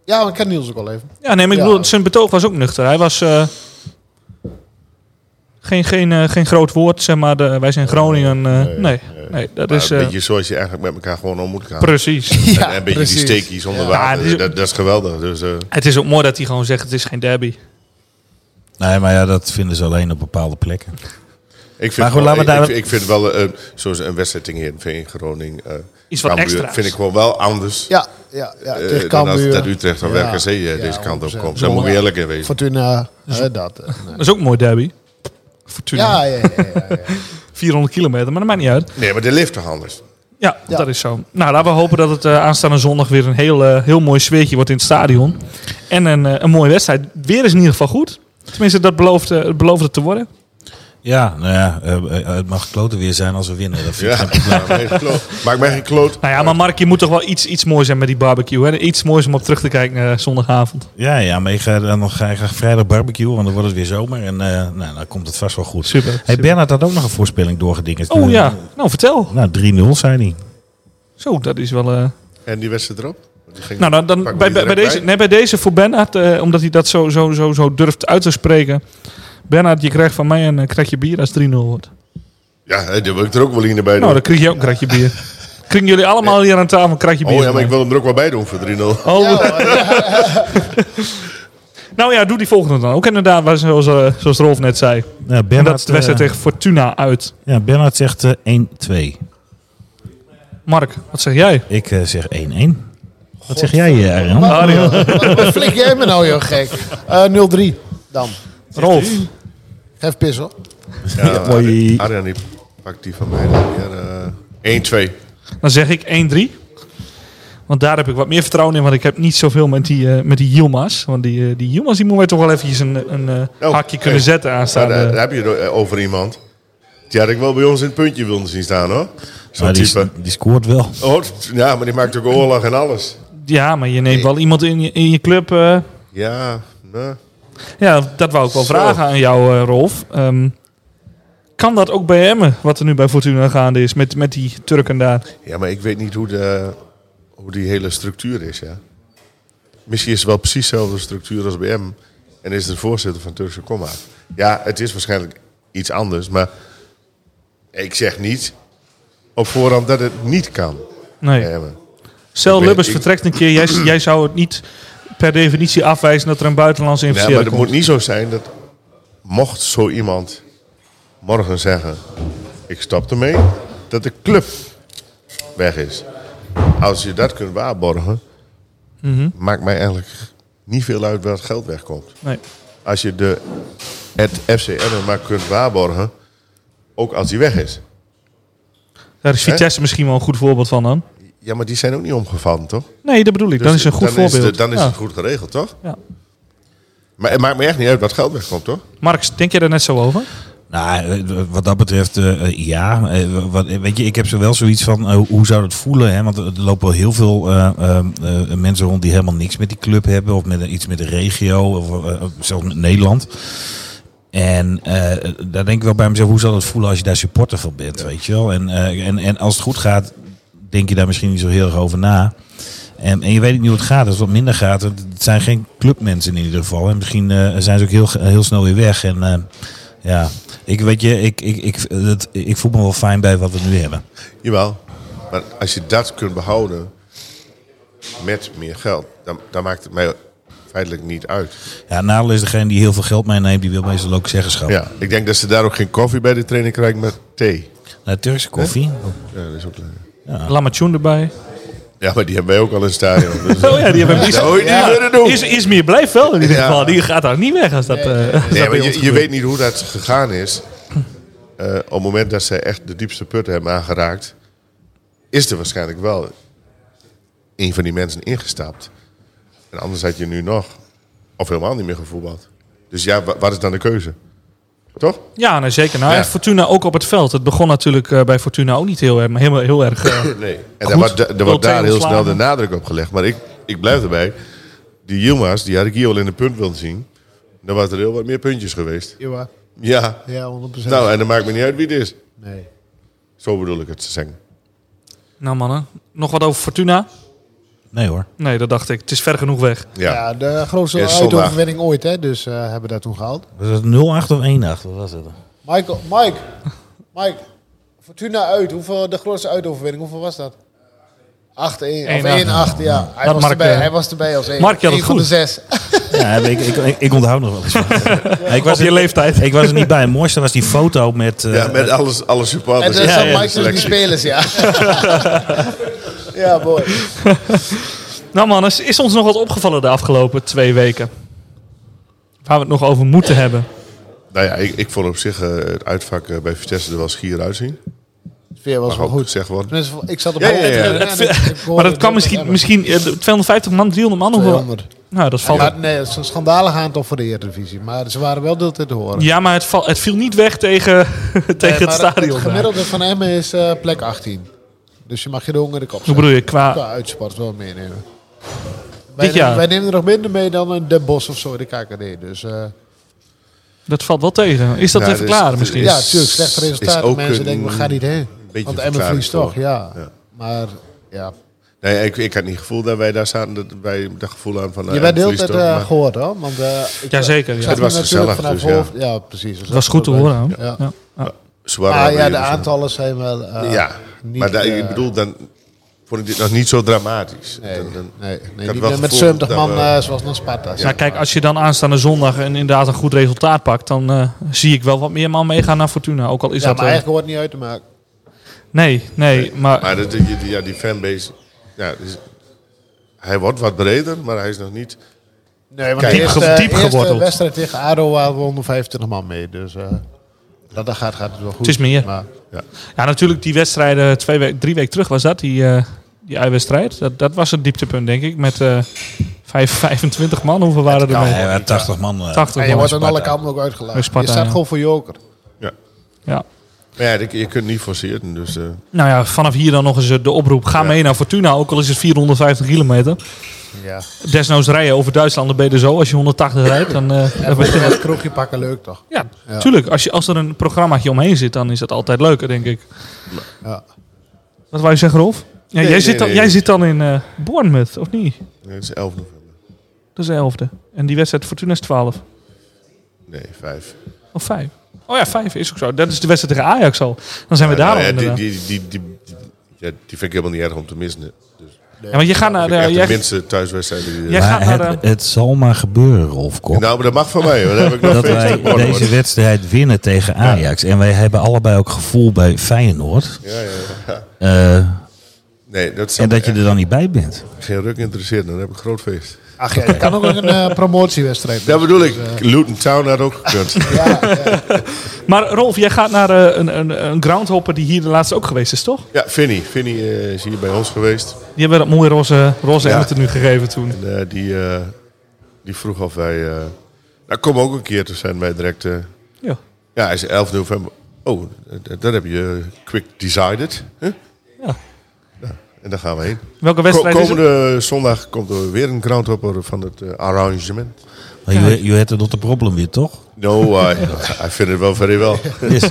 Speaker 7: ja, maar ik ken Niels ook al even.
Speaker 5: Ja, nee, maar ik
Speaker 7: Ja.
Speaker 5: bedoel, zijn betoog was ook nuchter. Hij was eh, Geen, geen, eh, geen groot woord, zeg maar. De, wij zijn Groningen. eh, nee, nee, dat
Speaker 6: Maar
Speaker 5: is.
Speaker 6: een
Speaker 5: eh,
Speaker 6: beetje zoals je eigenlijk met elkaar gewoon om moet gaan.
Speaker 5: precies.
Speaker 6: en een beetje die steekjes onder water.
Speaker 5: dit is-
Speaker 6: dat, dat is geweldig. Dus, eh,
Speaker 5: het is ook mooi dat hij gewoon zegt: het is geen derby.
Speaker 8: Nee, maar ja, dat vinden ze alleen op bepaalde plekken.
Speaker 6: ik vind,
Speaker 8: Maar goed,
Speaker 6: wel-
Speaker 8: laten we
Speaker 6: ik,
Speaker 8: daar-
Speaker 6: ik, ik vind wel, eh, zoals een wedstrijd tegen Heerenveen, Groningen, eh
Speaker 5: Iets wat
Speaker 6: Cambuur,
Speaker 5: extra's.
Speaker 6: vind ik gewoon wel anders
Speaker 7: Ja, ja, ja.
Speaker 6: eh,
Speaker 7: tegen
Speaker 6: dan als
Speaker 7: Cambuur.
Speaker 6: dat Utrecht of
Speaker 7: Ja,
Speaker 6: RKC
Speaker 7: ja,
Speaker 6: eh, deze kant op
Speaker 7: 100%.
Speaker 6: komt. Daar moet ik eerlijk in wezen.
Speaker 7: Fortuna, eh, dat. eh, nee.
Speaker 5: Dat is ook een mooi derby. Fortuna.
Speaker 7: Ja, ja, ja. ja, ja.
Speaker 5: 400 kilometer, maar dat maakt niet uit.
Speaker 6: Nee, maar de lift toch anders?
Speaker 5: Ja,
Speaker 7: Ja.
Speaker 5: dat is zo. Nou, laten we hopen dat het eh, aanstaande zondag weer een heel, eh, heel mooi sfeertje wordt in het stadion. En een, eh, een mooie wedstrijd. Weer is in ieder geval goed. Tenminste, dat belooft, eh, het belooft het te worden.
Speaker 8: Ja, nou ja, eh, eh, het mag kloten weer zijn als we winnen. Dat vind ik
Speaker 6: Ja, maakt mij geen kloot. Maakt mij geen kloot.
Speaker 5: Nou ja, maar Mark, je moet toch wel iets, iets moois hebben met die barbecue. Hè? Iets moois om op terug te kijken eh, zondagavond.
Speaker 8: Ja, ja, maar ik ga dan nog ga ik graag vrijdag barbecue, want dan wordt het weer zomer en eh, nou, dan komt het vast wel goed.
Speaker 5: Super,
Speaker 8: Hey,
Speaker 5: super.
Speaker 8: Bernard had ook nog een voorspelling doorgedingerd.
Speaker 5: Oh
Speaker 8: Eh,
Speaker 5: ja, nou vertel.
Speaker 8: Nou, 3-0 zei hij.
Speaker 5: Zo, dat is wel... eh,
Speaker 6: En die wedstrijd erop? Die ging-
Speaker 5: Nou, dan, dan
Speaker 6: pak
Speaker 5: bij,
Speaker 6: me
Speaker 5: bij,
Speaker 6: die
Speaker 5: bij
Speaker 6: direct
Speaker 5: deze, nee, bij deze voor Bernard, eh, omdat hij dat zo, zo, zo, zo durft uit te spreken. Bernard, je krijgt van mij een eh, kratje bier als 3-0 wordt.
Speaker 6: Ja, hè, daar wil ik er ook wel in bij doen.
Speaker 5: Nou, dan krijg je ook een kratje bier. Kringen jullie allemaal hier aan tafel een kratje bier?
Speaker 6: oh ja,
Speaker 5: van
Speaker 6: maar ik
Speaker 5: mij.
Speaker 6: wil hem er ook wel bij doen voor 3-0.
Speaker 5: Oh. nou ja, doe die volgende dan ook inderdaad, waar- zoals, eh, zoals Rolf net zei.
Speaker 8: Nou,
Speaker 5: En
Speaker 8: Bernard,
Speaker 5: dat is de wedstrijd
Speaker 8: eh,
Speaker 5: tegen Fortuna uit.
Speaker 8: ja, Bernard zegt eh, 1-2.
Speaker 5: Mark, wat zeg jij?
Speaker 8: Ik eh, zeg 1-1. Wat zeg jij, eh, Arjan?
Speaker 5: Mario.
Speaker 7: Wat- Wat flik jij me nou, joh, gek? Eh, 0-3 dan.
Speaker 5: Rolf.
Speaker 7: Geef pis, hoor.
Speaker 6: Ja,
Speaker 8: Hoi.
Speaker 6: Arjan, die pakt die van mij dan weer. eh, 1-2.
Speaker 5: Dan zeg ik 1-3. Want daar heb ik wat meer vertrouwen in. Want ik heb niet zoveel met die, eh met die Yilmaz. Want die, eh, die Yilmaz die moeten wij toch wel eventjes een, een eh,
Speaker 6: Oh,
Speaker 5: hakje
Speaker 6: oké.
Speaker 5: kunnen zetten
Speaker 6: Ja,
Speaker 5: aanstaande.
Speaker 6: daar, daar heb je het eh, over iemand. Die had ik wel bij ons in het puntje willen zien staan hoor. Zo'n
Speaker 8: Maar
Speaker 6: type.
Speaker 8: die, die scoort wel.
Speaker 6: Oh, ja, maar die maakt ook oorlog en alles.
Speaker 5: ja, maar je neemt wel iemand in je, in je club. eh.
Speaker 6: Ja, nou,
Speaker 5: ja, dat wou ik wel
Speaker 6: Zo.
Speaker 5: vragen aan jou, eh, Rolf. Ehm, kan dat ook bij Emmen, wat er nu bij Fortuna gaande is, met, met die Turken daar?
Speaker 6: ja, maar ik weet niet hoe, de, hoe die hele structuur is. Ja. Misschien is het wel precies dezelfde structuur als bij hem. En is de voorzitter van Turkse Comma. Ja, het is waarschijnlijk iets anders. Maar ik zeg niet op voorhand dat het niet kan.
Speaker 5: Nee.
Speaker 6: bij Emmen.
Speaker 5: Stel,
Speaker 6: ik weet-
Speaker 5: Lubbers
Speaker 6: ik-
Speaker 5: vertrekt een keer. Jij, jij zou het niet per definitie afwijzen dat er een buitenlandse
Speaker 6: Ja,
Speaker 5: investeerder
Speaker 6: maar het
Speaker 5: komt.
Speaker 6: moet niet zo zijn dat mocht zo iemand morgen zeggen, ik stop ermee, dat de club weg is. Als je dat kunt waarborgen,
Speaker 5: Mhm.
Speaker 6: maakt mij eigenlijk niet veel uit waar het geld wegkomt.
Speaker 5: Nee.
Speaker 6: Als je de, het FCM maar kunt waarborgen, ook als die weg is.
Speaker 5: Daar is Vitesse misschien wel een goed voorbeeld van dan.
Speaker 6: Ja, maar die zijn ook niet omgevallen, toch?
Speaker 5: Nee, dat bedoel ik.
Speaker 6: Dus
Speaker 5: dan is het een goed
Speaker 6: dan
Speaker 5: voorbeeld.
Speaker 6: de- dan is
Speaker 5: Ja.
Speaker 6: het goed geregeld, toch?
Speaker 5: Ja.
Speaker 6: Maar het maakt me echt niet uit wat geld wegkomt, toch?
Speaker 5: Marx, denk je daar net zo over?
Speaker 8: Nou, eh, wat dat betreft, eh, eh, ja. Eh, wat, eh, weet je, ik heb zo wel zoiets van, eh, hoe zou dat voelen? Hè? Want er lopen wel heel veel eh, eh, eh, mensen rond die helemaal niks met die club hebben. Of met, eh, iets met de regio, of eh, eh, zelfs met Nederland. En eh, daar denk ik wel bij mezelf, hoe zal het voelen als je daar supporter van bent, weet je wel? En, eh, en, en als het goed gaat, denk je daar misschien niet zo heel erg over na. En, en je weet niet hoe het gaat. Als het wat minder gaat, het het zijn geen clubmensen in ieder geval. En misschien eh, zijn ze ook heel, heel snel weer weg. En eh, ja, ik weet je, ik, ik, ik, het, ik voel me wel fijn bij wat we nu hebben.
Speaker 6: Jawel. Maar als je dat kunt behouden met meer geld, dan, dan maakt het mij feitelijk niet uit.
Speaker 8: Ja, het nadeel is degene die heel veel geld meeneemt, die wil meestal ook
Speaker 5: Oh.
Speaker 8: zeggenschap.
Speaker 6: Ja, ik denk dat ze daar ook geen koffie bij de training krijgen, maar thee.
Speaker 8: Nou, Turkse koffie.
Speaker 6: Ja, dat is ook leuk.
Speaker 5: Lamatjoen erbij.
Speaker 6: Ja, maar die hebben wij ook al in het stadion. Dus
Speaker 5: Oh ja, die hebben
Speaker 6: dat hoor je niet willen doen.
Speaker 5: Is, Ismir blijft wel in ieder
Speaker 6: Ja.
Speaker 5: geval. Die gaat daar niet weg als dat... eh, als dat
Speaker 6: Nee,
Speaker 5: bij
Speaker 6: maar
Speaker 5: ons
Speaker 6: je, je
Speaker 5: gebeurt.
Speaker 6: weet niet hoe dat gegaan is. Eh, op het moment dat zij echt de diepste put hebben aangeraakt, is er waarschijnlijk wel een van die mensen ingestapt. En anders had je nu nog, of helemaal niet meer gevoetbald. Dus ja, wa- wat is dan de keuze? Toch?
Speaker 5: Ja, nee, zeker. Nou,
Speaker 6: Ja.
Speaker 5: en Fortuna ook op het veld. Het begon natuurlijk eh, bij Fortuna ook niet heel erg, maar helemaal heel erg... eh,
Speaker 6: Nee. En daar wordt, da- daar wordt
Speaker 5: Wil
Speaker 6: daar heel
Speaker 5: Theo
Speaker 6: snel de
Speaker 5: slagen?
Speaker 6: nadruk op gelegd. Maar ik, ik blijf erbij. Die Yilmaz, die had ik hier al in de punt willen zien. Dan waren er heel wat meer puntjes geweest.
Speaker 7: Jawel.
Speaker 6: Ja.
Speaker 7: eh. Ja, 100%.
Speaker 6: Nou, en dan maakt me niet uit wie het is.
Speaker 7: Nee.
Speaker 6: Zo bedoel ik het te zeggen.
Speaker 5: nou mannen, nog wat over Fortuna?
Speaker 8: Nee hoor.
Speaker 5: Nee, dat dacht ik. Het is ver genoeg weg.
Speaker 7: Ja.
Speaker 6: ja.
Speaker 7: de grootste
Speaker 6: Is zondag.
Speaker 7: uitoverwinning ooit, hè. Dus eh, hebben we dat toen gehaald.
Speaker 8: Was dat 0-8 of 1-8? Wat was dat? dan?
Speaker 7: Michael, Mike, Mike, Fortuna uit. Hoeveel, de grootste uitoverwinning, hoeveel was dat? 8-1, of 1-8, ja.
Speaker 5: Dat
Speaker 7: Hij, was
Speaker 5: Mark,
Speaker 7: erbij,
Speaker 5: eh,
Speaker 7: hij was erbij als één.
Speaker 5: Mark had het
Speaker 7: Eén van
Speaker 5: goed.
Speaker 7: de zes.
Speaker 8: Ja, ik, ik, ik, ik onthoud nog wel eens. wat. Ja, ik, was
Speaker 5: Op je
Speaker 8: er,
Speaker 5: leeftijd.
Speaker 8: ik was er niet bij. Het mooiste was die foto met... eh,
Speaker 6: Ja, met alles, alle
Speaker 7: En
Speaker 6: supporters.
Speaker 7: dan
Speaker 8: ja,
Speaker 7: zat
Speaker 8: ja,
Speaker 7: Mike tussen die spelers, ja. ja, mooi.
Speaker 5: Nou man, is, is ons nog wat opgevallen de afgelopen twee weken? Waar we het nog over moeten hebben.
Speaker 6: Nou ja, ik, ik vond op zich eh, het uitvak eh, bij Vitesse er wel schier uitzien.
Speaker 7: Sfeer was
Speaker 6: Mag
Speaker 7: wel
Speaker 6: ook
Speaker 7: goed.
Speaker 6: gezegd worden.
Speaker 7: Tenminste, ik zat op
Speaker 6: Ja, ja, ja.
Speaker 7: mijn hoofd.
Speaker 5: Het- Maar dat kan misschien, misschien eh, 250 man, 300 man. Hoeveel?
Speaker 7: 200.
Speaker 5: Nou, dat valt.
Speaker 7: Ja, nee, het is een schandalig aantal voor de Eredivisie. Maar ze waren wel deel te horen.
Speaker 5: Ja, maar het, val, het viel niet weg tegen, tegen
Speaker 7: Nee,
Speaker 5: het
Speaker 7: eh, maar
Speaker 5: stadion.
Speaker 7: Het gemiddelde van hem is eh, plek 18. Dus je mag je de honger de kop
Speaker 5: Hoe
Speaker 7: zetten.
Speaker 5: bedoel je? Qua,
Speaker 7: Qua uitsport wel meenemen.
Speaker 5: Dit
Speaker 7: Wij,
Speaker 5: jaar?
Speaker 7: wij nemen er nog minder mee dan een Den Bosch of zo, de KKD. Dus eh,
Speaker 5: dat valt wel tegen. Is dat
Speaker 6: Ja,
Speaker 5: te
Speaker 6: dus-
Speaker 5: verklaren
Speaker 6: dus-
Speaker 5: misschien?
Speaker 6: Is-
Speaker 7: ja, natuurlijk, slechte
Speaker 6: is
Speaker 7: resultaten.
Speaker 6: ook
Speaker 7: Mensen
Speaker 6: een
Speaker 7: denken, we gaan niet heen.
Speaker 6: beetje
Speaker 7: Want Emmen
Speaker 6: verklaring
Speaker 7: verliest
Speaker 6: voor.
Speaker 7: toch, ja.
Speaker 6: Ja. Nou
Speaker 7: Maar ja.
Speaker 6: Nee, ik, ik had niet het gevoel dat wij daar zaten, dat wij dat gevoel aan van...
Speaker 7: je bent de hele tijd eh, gehoord hoor. Want, eh, ik,
Speaker 5: Jazeker, ja.
Speaker 7: ik zag
Speaker 6: Het was
Speaker 7: me natuurlijk
Speaker 6: gezellig,
Speaker 7: vanaf
Speaker 6: dus ja.
Speaker 7: hoofd- ja, precies.
Speaker 5: Dat was goed te horen. hoor.
Speaker 7: Ja.
Speaker 5: Ja.
Speaker 7: Ah, ja, de aantallen zijn wel. eh,
Speaker 6: ja,
Speaker 7: niet,
Speaker 6: maar daar- ik
Speaker 7: eh,
Speaker 6: bedoel, dan vond ik dit nog niet zo dramatisch.
Speaker 7: Nee,
Speaker 6: Dan- dan-
Speaker 7: nee, nee
Speaker 6: had
Speaker 7: die
Speaker 6: wel
Speaker 7: met
Speaker 6: gevoel
Speaker 7: 70
Speaker 6: dat
Speaker 7: man
Speaker 6: we-
Speaker 7: eh, zoals naar Sparta.
Speaker 5: Nou, kijk, als je dan aanstaande zondag en inderdaad een goed resultaat pakt, dan eh, zie ik wel wat meer man meegaan naar Fortuna. Ook al is
Speaker 7: ja,
Speaker 5: dat.
Speaker 7: maar
Speaker 5: eh,
Speaker 7: eigenlijk hoort het niet uit te maken.
Speaker 5: nee, nee,
Speaker 7: eh,
Speaker 5: maar,
Speaker 6: Maar dat, die- die- ja, die fanbase, ja, dus, hij wordt wat breder, maar hij is nog niet...
Speaker 7: Nee, want
Speaker 6: Kijk,
Speaker 7: de
Speaker 6: diep
Speaker 7: eerste,
Speaker 5: ge- diep
Speaker 7: eerste
Speaker 5: geworteld.
Speaker 7: wedstrijd tegen ADO waren we 125 man mee. Dus eh, dat, dat gaat, gaat het wel goed.
Speaker 5: Het is meer.
Speaker 7: Maar,
Speaker 5: Ja, natuurlijk die wedstrijden twee we- drie weken terug was dat, die, eh die uitwedstrijd. Dat, dat was het dieptepunt, denk ik, met eh, vijf- 25 man. Hoeveel waren er
Speaker 8: ja,
Speaker 5: mee?
Speaker 8: ja, 80 man. eh.
Speaker 5: 80
Speaker 7: en je
Speaker 5: man.
Speaker 7: wordt aan alle
Speaker 8: Sparta.
Speaker 7: kanten ook uitgelaten.
Speaker 5: Bij Sparta,
Speaker 7: je staat
Speaker 5: ja.
Speaker 7: gewoon voor joker.
Speaker 5: Ja.
Speaker 6: Maar ja, je, je kunt niet forceren, dus... eh,
Speaker 5: Nou ja, vanaf hier dan nog eens eh, de oproep. Ga mee naar Fortuna, ook al is het 450 kilometer.
Speaker 7: Ja.
Speaker 5: Desnoods rijden over Duitsland, dan ben je er zo. Als je 180 rijdt, dan, eh, dan
Speaker 7: En
Speaker 5: ben
Speaker 7: voor
Speaker 5: je
Speaker 7: de
Speaker 5: er-
Speaker 7: rest kroegje pakken leuk toch?
Speaker 5: Ja,
Speaker 7: Ja.
Speaker 5: tuurlijk. Als, je, als er een programmaatje omheen zit, dan is dat altijd leuker, denk ik.
Speaker 7: Ja.
Speaker 5: Wat wou je zeggen, Rolf? Ja, jij,
Speaker 6: nee,
Speaker 5: zit dan,
Speaker 6: nee.
Speaker 5: jij zit dan in eh Bournemouth, of niet?
Speaker 6: nee, het is 11 november.
Speaker 5: Dat is de elfde. En die wedstrijd Fortuna is 12.
Speaker 6: Nee, 5.
Speaker 5: Of vijf? Oh ja, vijf is ook zo. Dat is de wedstrijd tegen Ajax al. Dan zijn we daar al
Speaker 6: ja, die,
Speaker 5: inderdaad.
Speaker 6: die, die, die, die- ja, die vind ik helemaal niet erg om te missen. Dus
Speaker 5: Ja, want je gaat naar
Speaker 6: vind
Speaker 5: de...
Speaker 6: ik echt de
Speaker 5: Ah, nou, Jij,
Speaker 6: minste thuiswedstrijden die er
Speaker 5: jij
Speaker 6: zijn.
Speaker 5: gaat naar
Speaker 8: Maar
Speaker 5: de...
Speaker 8: het, het zal maar gebeuren, Rolf Kok.
Speaker 6: Nou, maar dat mag van mij. hoor. Dan heb ik nog
Speaker 8: dat
Speaker 6: veel
Speaker 8: wij
Speaker 6: te worden.
Speaker 8: deze wedstrijd winnen tegen Ajax. En wij hebben allebei ook gevoel bij Feyenoord.
Speaker 6: Ja, ja, ja.
Speaker 8: eh,
Speaker 6: Nee, dat zou
Speaker 8: en dat
Speaker 6: me
Speaker 8: je er dan niet bij bent.
Speaker 6: echt geen ruk interesseert. Dan heb ik een groot feest.
Speaker 7: Ach ja, je kan ook een eh, promotiewedstrijd
Speaker 6: Dat
Speaker 7: doen. Dus, eh,
Speaker 6: bedoel ik.
Speaker 5: Dus, eh,
Speaker 6: Luton Town had ook gekund.
Speaker 5: Maar Rolf, jij gaat naar eh, een, een, een groundhopper die hier de laatste ook geweest is, toch?
Speaker 6: Ja, Vinnie. Vinnie eh, is hier bij ons geweest.
Speaker 5: Die hebben dat mooie roze, roze
Speaker 6: Ja.
Speaker 5: ja. nu gegeven toen.
Speaker 6: En, eh, die, eh, die vroeg of wij... eh, nou, kom ook een keer te zijn bij direct... eh,
Speaker 5: Ja.
Speaker 6: ja, hij is 11 november. Oh, dat, dat heb je eh, quick decided. hè?
Speaker 5: Ja.
Speaker 6: Ja, En daar gaan we heen.
Speaker 5: Welke
Speaker 6: Ko-
Speaker 5: wedstrijd is het?
Speaker 6: komende zondag komt er weer een groundhopper van het eh, arrangement.
Speaker 8: Maar je, je hebt het probleem weer, toch?
Speaker 6: No, I, I vind het wel very well.
Speaker 8: Dus,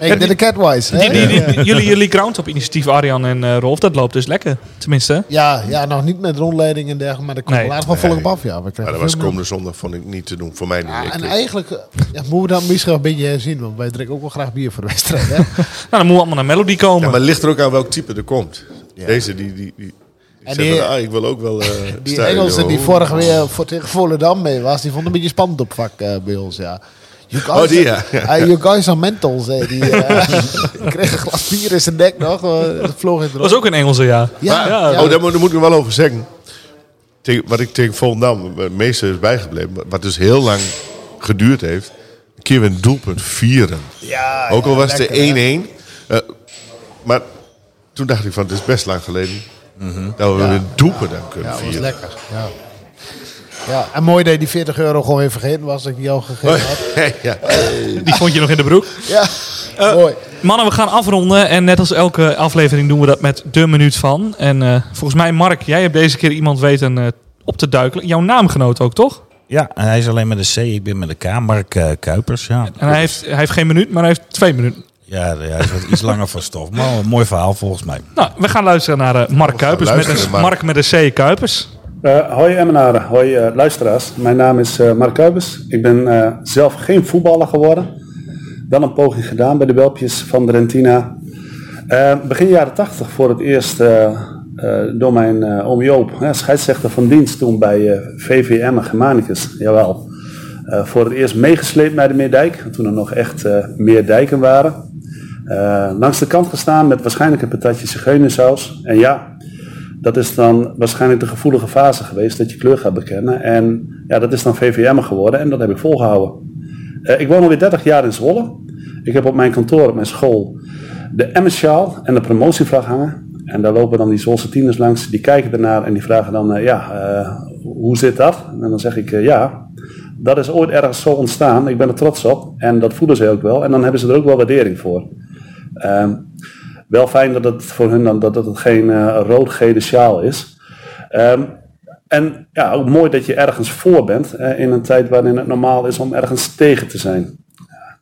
Speaker 7: Ik deed de Catwise. hè?
Speaker 5: Die- die- die- jullie, jullie groundhop initiatief, Arjan en eh, Rolf, dat loopt dus lekker. Tenminste.
Speaker 7: Ja, ja, nog niet met rondleiding en dergelijke, maar dat komt
Speaker 5: Nee.
Speaker 7: later van volop af. Ja, we
Speaker 6: Maar
Speaker 7: krijgen
Speaker 6: dat was
Speaker 7: veel meer-
Speaker 6: komende zondag vond ik niet te doen. Voor mij niet.
Speaker 7: Ja,
Speaker 6: Ik-
Speaker 7: en
Speaker 6: ik-
Speaker 7: eigenlijk eh, ja, moeten we dat misschien wel een beetje herzien, want wij drinken ook wel graag bier voor de wedstrijd. Hè?
Speaker 5: Nou, dan moet allemaal naar Melody komen.
Speaker 6: ja, maar het ligt er ook aan welk type er komt. Deze die... die, die ik
Speaker 7: En
Speaker 6: zeg
Speaker 7: die-
Speaker 6: van, ah, ik wil ook wel... eh,
Speaker 7: Die
Speaker 6: stijgen,
Speaker 7: Engelse die
Speaker 6: hoor.
Speaker 7: vorige weer voor, tegen Volendam mee was, die vond een beetje spannend op vak eh, bij ons, ja. You guys,
Speaker 6: Oh, die, ja.
Speaker 7: eh, you guys are mental, zei die. eh. Ik kreeg een glas bier in zijn nek nog, eh, dat vloog in de
Speaker 5: Dat was ook een Engelse, ja.
Speaker 7: Ja,
Speaker 5: ja.
Speaker 7: ja.
Speaker 6: Oh, daar moet, daar moet ik wel over zeggen. Tegen- wat ik tegen Volendam eh, het meeste is bijgebleven... wat dus heel lang geduurd heeft... een keer weer een doelpunt vieren.
Speaker 7: Ja,
Speaker 6: Ook al
Speaker 7: ja,
Speaker 6: was het
Speaker 7: lekker, hè.
Speaker 6: 1-1. eh, maar toen dacht ik van, het is best lang geleden... dat we weer een doelpunt aan kunnen
Speaker 7: Mhm. Ja, dat was
Speaker 6: vieren.
Speaker 7: lekker, ja. Ja, en mooi dat je die 40 euro gewoon even vergeten was, dat ik die al gegeven had.
Speaker 6: ja.
Speaker 5: Die vond je nog in de broek.
Speaker 7: Ja,
Speaker 5: Eh,
Speaker 7: mooi.
Speaker 5: Mannen, we gaan afronden. En net als elke aflevering doen we dat met de minuut van. En eh, volgens mij, Mark, jij hebt deze keer iemand weten eh, op te duiken. Jouw naamgenoot ook, toch?
Speaker 8: ja, en hij is alleen met een C, ik ben met een K. Mark eh, Kuipers, ja.
Speaker 5: En hij heeft, hij heeft geen minuut, maar hij heeft twee minuten.
Speaker 8: Ja, hij is wat iets langer van stof. Maar een mooi verhaal volgens mij.
Speaker 5: Nou, we gaan luisteren naar eh, Mark Kuipers. Met
Speaker 6: luisteren,
Speaker 5: een,
Speaker 6: Mark.
Speaker 5: Mark met een C. Kuipers.
Speaker 10: Eh, hoi Emmenaren, hoi eh, luisteraars. Mijn naam is eh, Mark Kuipers. Ik ben eh, zelf geen voetballer geworden.
Speaker 6: wel een poging gedaan bij de Belpjes van Drentina. Eh, begin jaren 80 voor het eerst eh, eh, door mijn eh oom Joop, hè, scheidsrechter van dienst toen bij eh VVM en Germanicus, jawel. Eh, voor het eerst meegesleept naar de Meerdijk, toen er nog echt eh, meer dijken waren. Eh, langs de kant gestaan met waarschijnlijk een patatje zigeunersaus. En ja, dat is dan waarschijnlijk de gevoelige fase geweest dat je kleur gaat bekennen. En ja, dat is dan VVM geworden en dat heb ik volgehouden. Eh, ik woon alweer 30 jaar in Zwolle. Ik heb op mijn kantoor, op mijn school, de Emmensjaal en de promotievlag hangen. En daar lopen dan die Zwolse tieners langs, die kijken ernaar en die vragen dan, eh, ja, eh, hoe zit dat? En dan zeg ik, eh, ja, dat is ooit ergens zo ontstaan. Ik ben er trots op en dat voelen ze ook wel. En dan hebben ze er ook wel waardering voor. Ehm, wel fijn dat het voor hun dan, dat dat het geen eh, rood-gele sjaal is. Ehm, en ja, ook mooi dat je ergens voor bent eh, in een tijd waarin het normaal is om ergens tegen te zijn.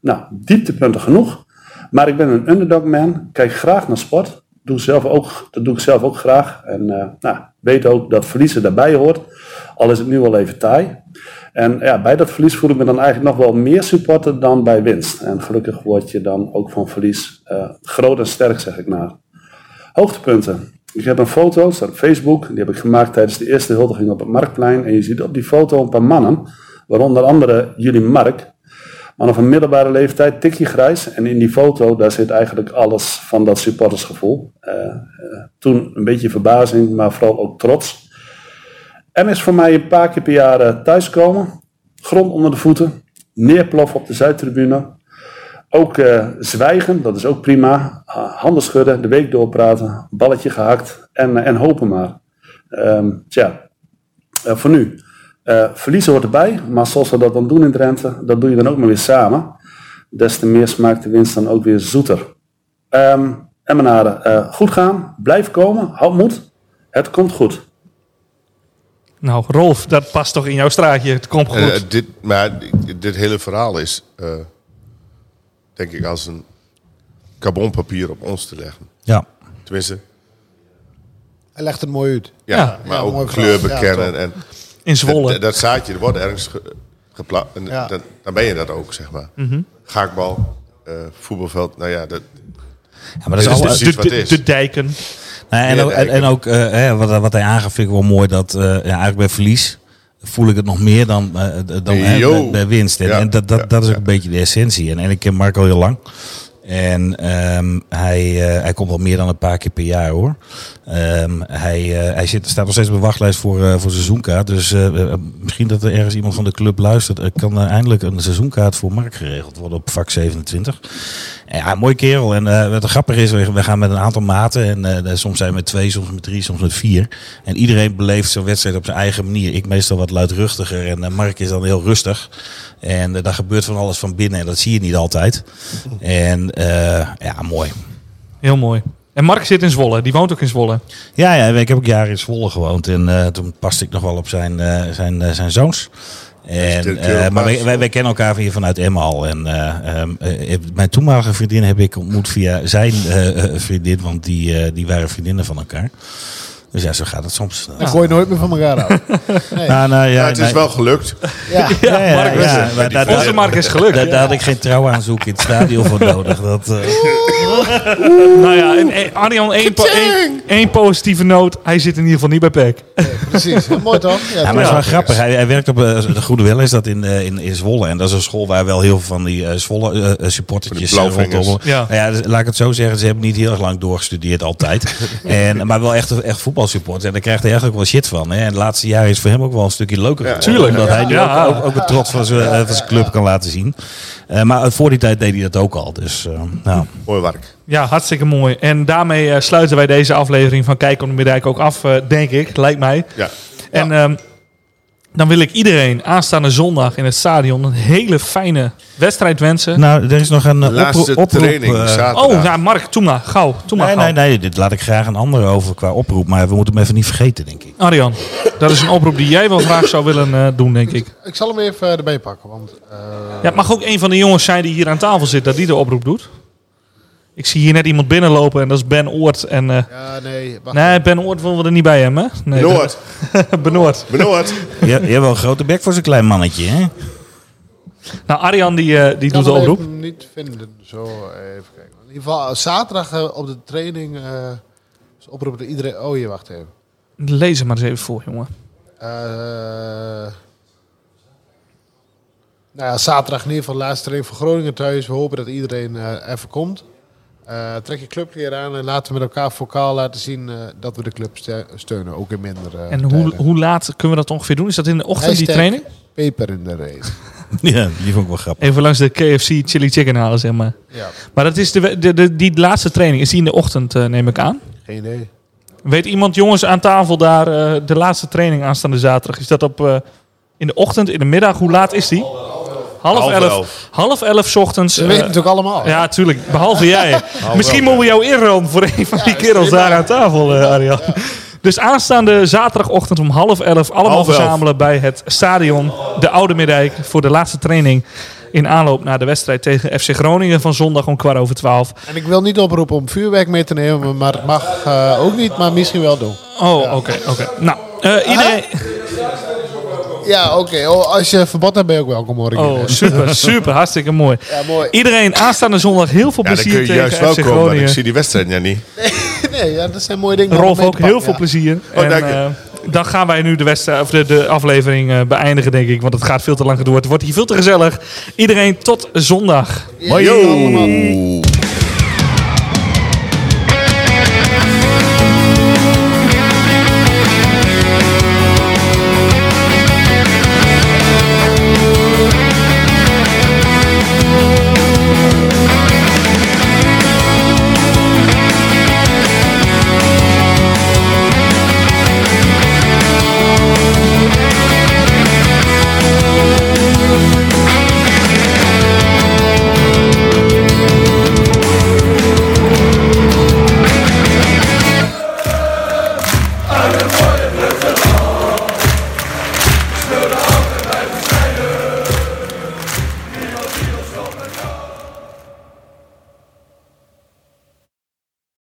Speaker 6: Nou, dieptepunten genoeg. Maar ik ben een underdog man. Kijk graag naar sport. Doe zelf ook, dat doe ik zelf ook graag. En eh, nou, weet ook dat verliezen daarbij hoort. Al is het nu al even taai. En ja, bij dat verlies voel ik me dan eigenlijk nog wel meer supporter dan bij winst. En gelukkig word je dan ook van verlies eh, groot en sterk, zeg ik maar. Hoogtepunten. Ik heb een foto, staat op Facebook. Die heb ik gemaakt tijdens de eerste huldiging op het Marktplein. En je ziet op die foto een paar mannen, waaronder andere jullie Mark. Mannen van middelbare leeftijd, tikje grijs. En in die foto, daar zit eigenlijk alles van dat supportersgevoel. Eh, eh, toen een beetje verbazing, maar vooral ook trots. M is voor mij een paar keer per jaar eh, thuiskomen. Grond onder de voeten. Neerploffen op de Zuidtribune. Ook eh, zwijgen, dat is ook prima. Ah, handen schudden, de week doorpraten. Balletje gehakt en, eh, en hopen maar. Ehm tja, Eh, voor nu. Eh, verliezen hoort erbij, maar zoals we dat dan doen in Drenthe, dat doe je dan ook maar weer samen. Des te meer smaakt de winst dan ook weer zoeter. Ehm Emmenaren, eh, goed gaan, blijf komen, houd moed. Het komt goed.
Speaker 5: Nou, Rolf, dat past toch in jouw straatje. Het komt goed.
Speaker 11: En, eh, dit, maar dit hele verhaal is, eh, denk ik, als een carbonpapier op ons te leggen.
Speaker 8: Ja.
Speaker 11: Tenminste,
Speaker 7: Hij legt het mooi uit.
Speaker 11: ja,
Speaker 5: Ja.
Speaker 11: maar
Speaker 7: Ja, mooi
Speaker 11: ook
Speaker 7: verhaal.
Speaker 11: kleur bekennen.
Speaker 7: Ja,
Speaker 11: en
Speaker 5: in
Speaker 11: dat,
Speaker 5: Zwolle.
Speaker 11: dat- dat zaadje, er wordt ergens ge- geplakt. En
Speaker 7: Ja. Mhm.
Speaker 11: dat- dan ben je dat ook, zeg maar. Gaakbal, eh, voetbalveld, nou ja, dat,
Speaker 8: Ja, maar dat is
Speaker 11: Dit
Speaker 8: al,
Speaker 11: is
Speaker 5: Dus de,
Speaker 11: precies wat
Speaker 5: de,
Speaker 11: Dus het
Speaker 5: de,
Speaker 11: is.
Speaker 5: de dijken.
Speaker 8: Nou, en,
Speaker 11: Ja,
Speaker 8: ook, en, en ook eh, hè, wat, wat hij aangaf, vind ik wel mooi dat eh, ja, eigenlijk bij verlies voel ik het nog meer dan, eh, d- dan hè,
Speaker 11: Yo.
Speaker 8: bij, bij winst. En,
Speaker 11: Ja,
Speaker 8: en dat, dat,
Speaker 11: ja,
Speaker 8: dat is ook
Speaker 11: ja.
Speaker 8: een beetje de essentie. En, en ik ken Marco heel lang. En ehm, hij, eh, hij komt wel meer dan een paar keer per jaar hoor. Ehm, hij eh, hij zit, staat nog steeds op de wachtlijst voor, eh, voor seizoenkaart. Dus eh, eh, misschien dat er ergens iemand van de club luistert. Er kan eh, eindelijk een seizoenkaart voor Mark geregeld worden op vak 27. Ja, mooi kerel. En eh, wat grappig is, we we gaan met een aantal maten. En eh, soms zijn we met twee, soms met drie, soms met vier. En iedereen beleeft zo'n wedstrijd op zijn eigen manier. Ik meestal wat luidruchtiger en eh, Mark is dan heel rustig. En eh, daar gebeurt van alles van binnen en dat zie je niet altijd. En eh, ja, mooi.
Speaker 5: Heel mooi. En Mark zit in Zwolle. Die woont ook in Zwolle.
Speaker 8: Ja, ja, ik heb ook jaren in Zwolle gewoond. En eh, toen paste ik nog wel op zijn, eh, zijn, eh, zijn zoons. En,
Speaker 11: natuurlijk
Speaker 8: eh,
Speaker 11: heel
Speaker 8: maar wij,
Speaker 11: pas.
Speaker 8: wij, wij kennen elkaar hier vanuit Emma al. En, eh, ehm, eh, mijn toenmalige vriendin heb ik ontmoet via zijn eh, eh, vriendin. Want die, eh, die waren vriendinnen van elkaar. Dus ja, zo gaat het soms.
Speaker 7: Dan gooi je nooit meer van elkaar af.
Speaker 8: Nou, nou, ja,
Speaker 11: maar het is
Speaker 8: nee.
Speaker 11: wel gelukt.
Speaker 7: Ja.
Speaker 8: Ja, dus- ja,
Speaker 5: Mark
Speaker 8: ja,
Speaker 5: was
Speaker 8: ja,
Speaker 5: het.
Speaker 8: maar daar-
Speaker 5: Onze
Speaker 8: daar-
Speaker 5: Mark is gelukt.
Speaker 8: daar- Daar had ik geen trouwaanzoek in het stadion voor nodig. Dat, eh,
Speaker 5: Nou ja, en, en Arjan, één, po- één, één positieve noot. Hij zit in ieder geval niet bij E PEC.
Speaker 7: Precies, mooi toch? Ja,
Speaker 8: Ja,
Speaker 7: toch?
Speaker 8: maar het is wel grappig. Hij, hij werkt op eh, de Goede Wel is dat in, eh, in, in Zwolle. En dat is een school waar wel heel veel van die eh, Zwolle eh, eh, supportertjes
Speaker 11: Van die blauwvingers.
Speaker 8: rondom.
Speaker 5: Ja.
Speaker 8: Nou ja, dus laat ik het zo zeggen. Ze hebben niet heel erg lang doorgestudeerd altijd. en, maar wel echt, echt voetbalsupporters. En daar krijgt hij eigenlijk wel shit van. Hè. En het laatste jaar is voor hem ook wel een stukje leuker geworden.
Speaker 5: tuurlijk.
Speaker 8: Omdat hij nu
Speaker 5: Ja.
Speaker 8: ook, ook, ook het trots van zijn, eh, van zijn club kan laten zien. Eh, maar voor die tijd deed hij dat ook al. Dus eh, nou,
Speaker 11: Mooi werk.
Speaker 5: Ja, hartstikke mooi. En daarmee eh, sluiten wij deze aflevering van Kijk op de Middijk ook af, eh, denk ik. Lijkt mij.
Speaker 11: Ja.
Speaker 5: En ehm, dan wil ik iedereen aanstaande zondag in het stadion een hele fijne wedstrijd wensen.
Speaker 8: nou, er is nog een eh,
Speaker 11: Laatste
Speaker 8: oproep. oproep,
Speaker 11: training,
Speaker 8: eh,
Speaker 11: zaterdag.
Speaker 5: oh, ja, Mark, toe maar. Gauw, toe maar
Speaker 8: Nee,
Speaker 5: gauw.
Speaker 8: nee, nee, dit laat ik graag een ander over qua oproep. Maar we moeten hem even niet vergeten, denk ik.
Speaker 5: Arjan, dat is een oproep die jij wel graag zou willen eh, doen, denk ik.
Speaker 7: Ik zal hem even eh, erbij pakken. Want, eh,
Speaker 5: Ja, het mag ook een van de jongens zijn die hier aan tafel zit, dat die de oproep doet. Ik zie hier net iemand binnenlopen en dat is Ben Oort. En, eh,
Speaker 7: ja, nee. Wacht.
Speaker 5: nee, Ben Oort willen we er niet bij hem, hè? Nee,
Speaker 11: Benoord,
Speaker 5: dat- Benoord.
Speaker 11: Benoord.
Speaker 8: Je, je hebt wel een grote bek voor zo'n klein mannetje, hè?
Speaker 5: Nou, Arjan die, eh, die doet
Speaker 7: kan
Speaker 5: de
Speaker 7: hem
Speaker 5: oproep.
Speaker 7: even niet vinden. Zo, even kijken. In ieder geval, eh, zaterdag eh, op de training eh is oproep dat iedereen... Oh, hier, wacht even.
Speaker 5: Lees hem maar eens even voor, jongen.
Speaker 7: Eh, nou ja, zaterdag in ieder geval laatste training voor Groningen thuis. We hopen dat iedereen eh, even komt. Eh, trek je clubkleren aan en laten we met elkaar vocaal laten zien eh, dat we de club ste- steunen. Ook in minder eh,
Speaker 5: En hoe,
Speaker 7: tijden.
Speaker 5: hoe laat kunnen we dat ongeveer doen? Is dat in de ochtend, die
Speaker 7: Hashtag
Speaker 5: training?
Speaker 7: Peper in de race.
Speaker 8: Ja, die vond ik wel grappig.
Speaker 5: Even langs de KFC Chili Chicken halen, zeg maar.
Speaker 7: ja,
Speaker 5: Maar dat is de, we- de, de- die laatste training. Is die in de ochtend, eh, neem ik aan?
Speaker 7: geen idee.
Speaker 5: Weet iemand, jongens, aan tafel daar eh, de laatste training aanstaande zaterdag? Is dat op, eh, in de ochtend, in de middag? Hoe laat is die? Half,
Speaker 6: Half
Speaker 5: elf.
Speaker 6: elf.
Speaker 5: Half elf 's ochtends.
Speaker 7: Ze
Speaker 5: eh,
Speaker 7: weten het natuurlijk allemaal.
Speaker 5: ja, tuurlijk. Behalve jij. Misschien moeten we jou inruimen voor een van die kerels daar aan tafel, eh, Arjan. Dus aanstaande zaterdagochtend om half elf allemaal
Speaker 6: Half elf.
Speaker 5: verzamelen bij het stadion De Oude Middijk voor de laatste training in aanloop naar de wedstrijd tegen FC Groningen van zondag om kwart over twaalf.
Speaker 7: En ik wil niet oproepen om vuurwerk mee te nemen, maar het mag eh, ook niet, maar misschien wel doen.
Speaker 5: Oh, oké, oké. Nou, eh, iedereen...
Speaker 7: Ja, oké. Oh, als je verbod hebt, ben je ook welkom hoor. ik
Speaker 5: Oh,
Speaker 7: hier.
Speaker 5: super, super, hartstikke mooi.
Speaker 7: Ja, mooi.
Speaker 5: Iedereen aanstaande zondag heel veel
Speaker 6: Ja, dan kun
Speaker 5: plezier
Speaker 6: je
Speaker 5: tegen
Speaker 6: juist wel
Speaker 5: FC
Speaker 6: komen, want ik
Speaker 5: Groningen.
Speaker 6: zie die wedstrijd ja niet.
Speaker 7: Nee, ja, dat zijn mooie dingen. om
Speaker 5: Rolf
Speaker 7: mee te
Speaker 5: ook heel
Speaker 7: pakken,
Speaker 5: veel
Speaker 7: ja.
Speaker 5: plezier. en,
Speaker 6: Oh, dank je.
Speaker 5: eh, dan gaan wij nu de, wedstrijd- of de, de aflevering eh, beëindigen, denk ik. Want het gaat veel te lang door. Het wordt hier veel te gezellig. Iedereen tot zondag.
Speaker 6: Yo!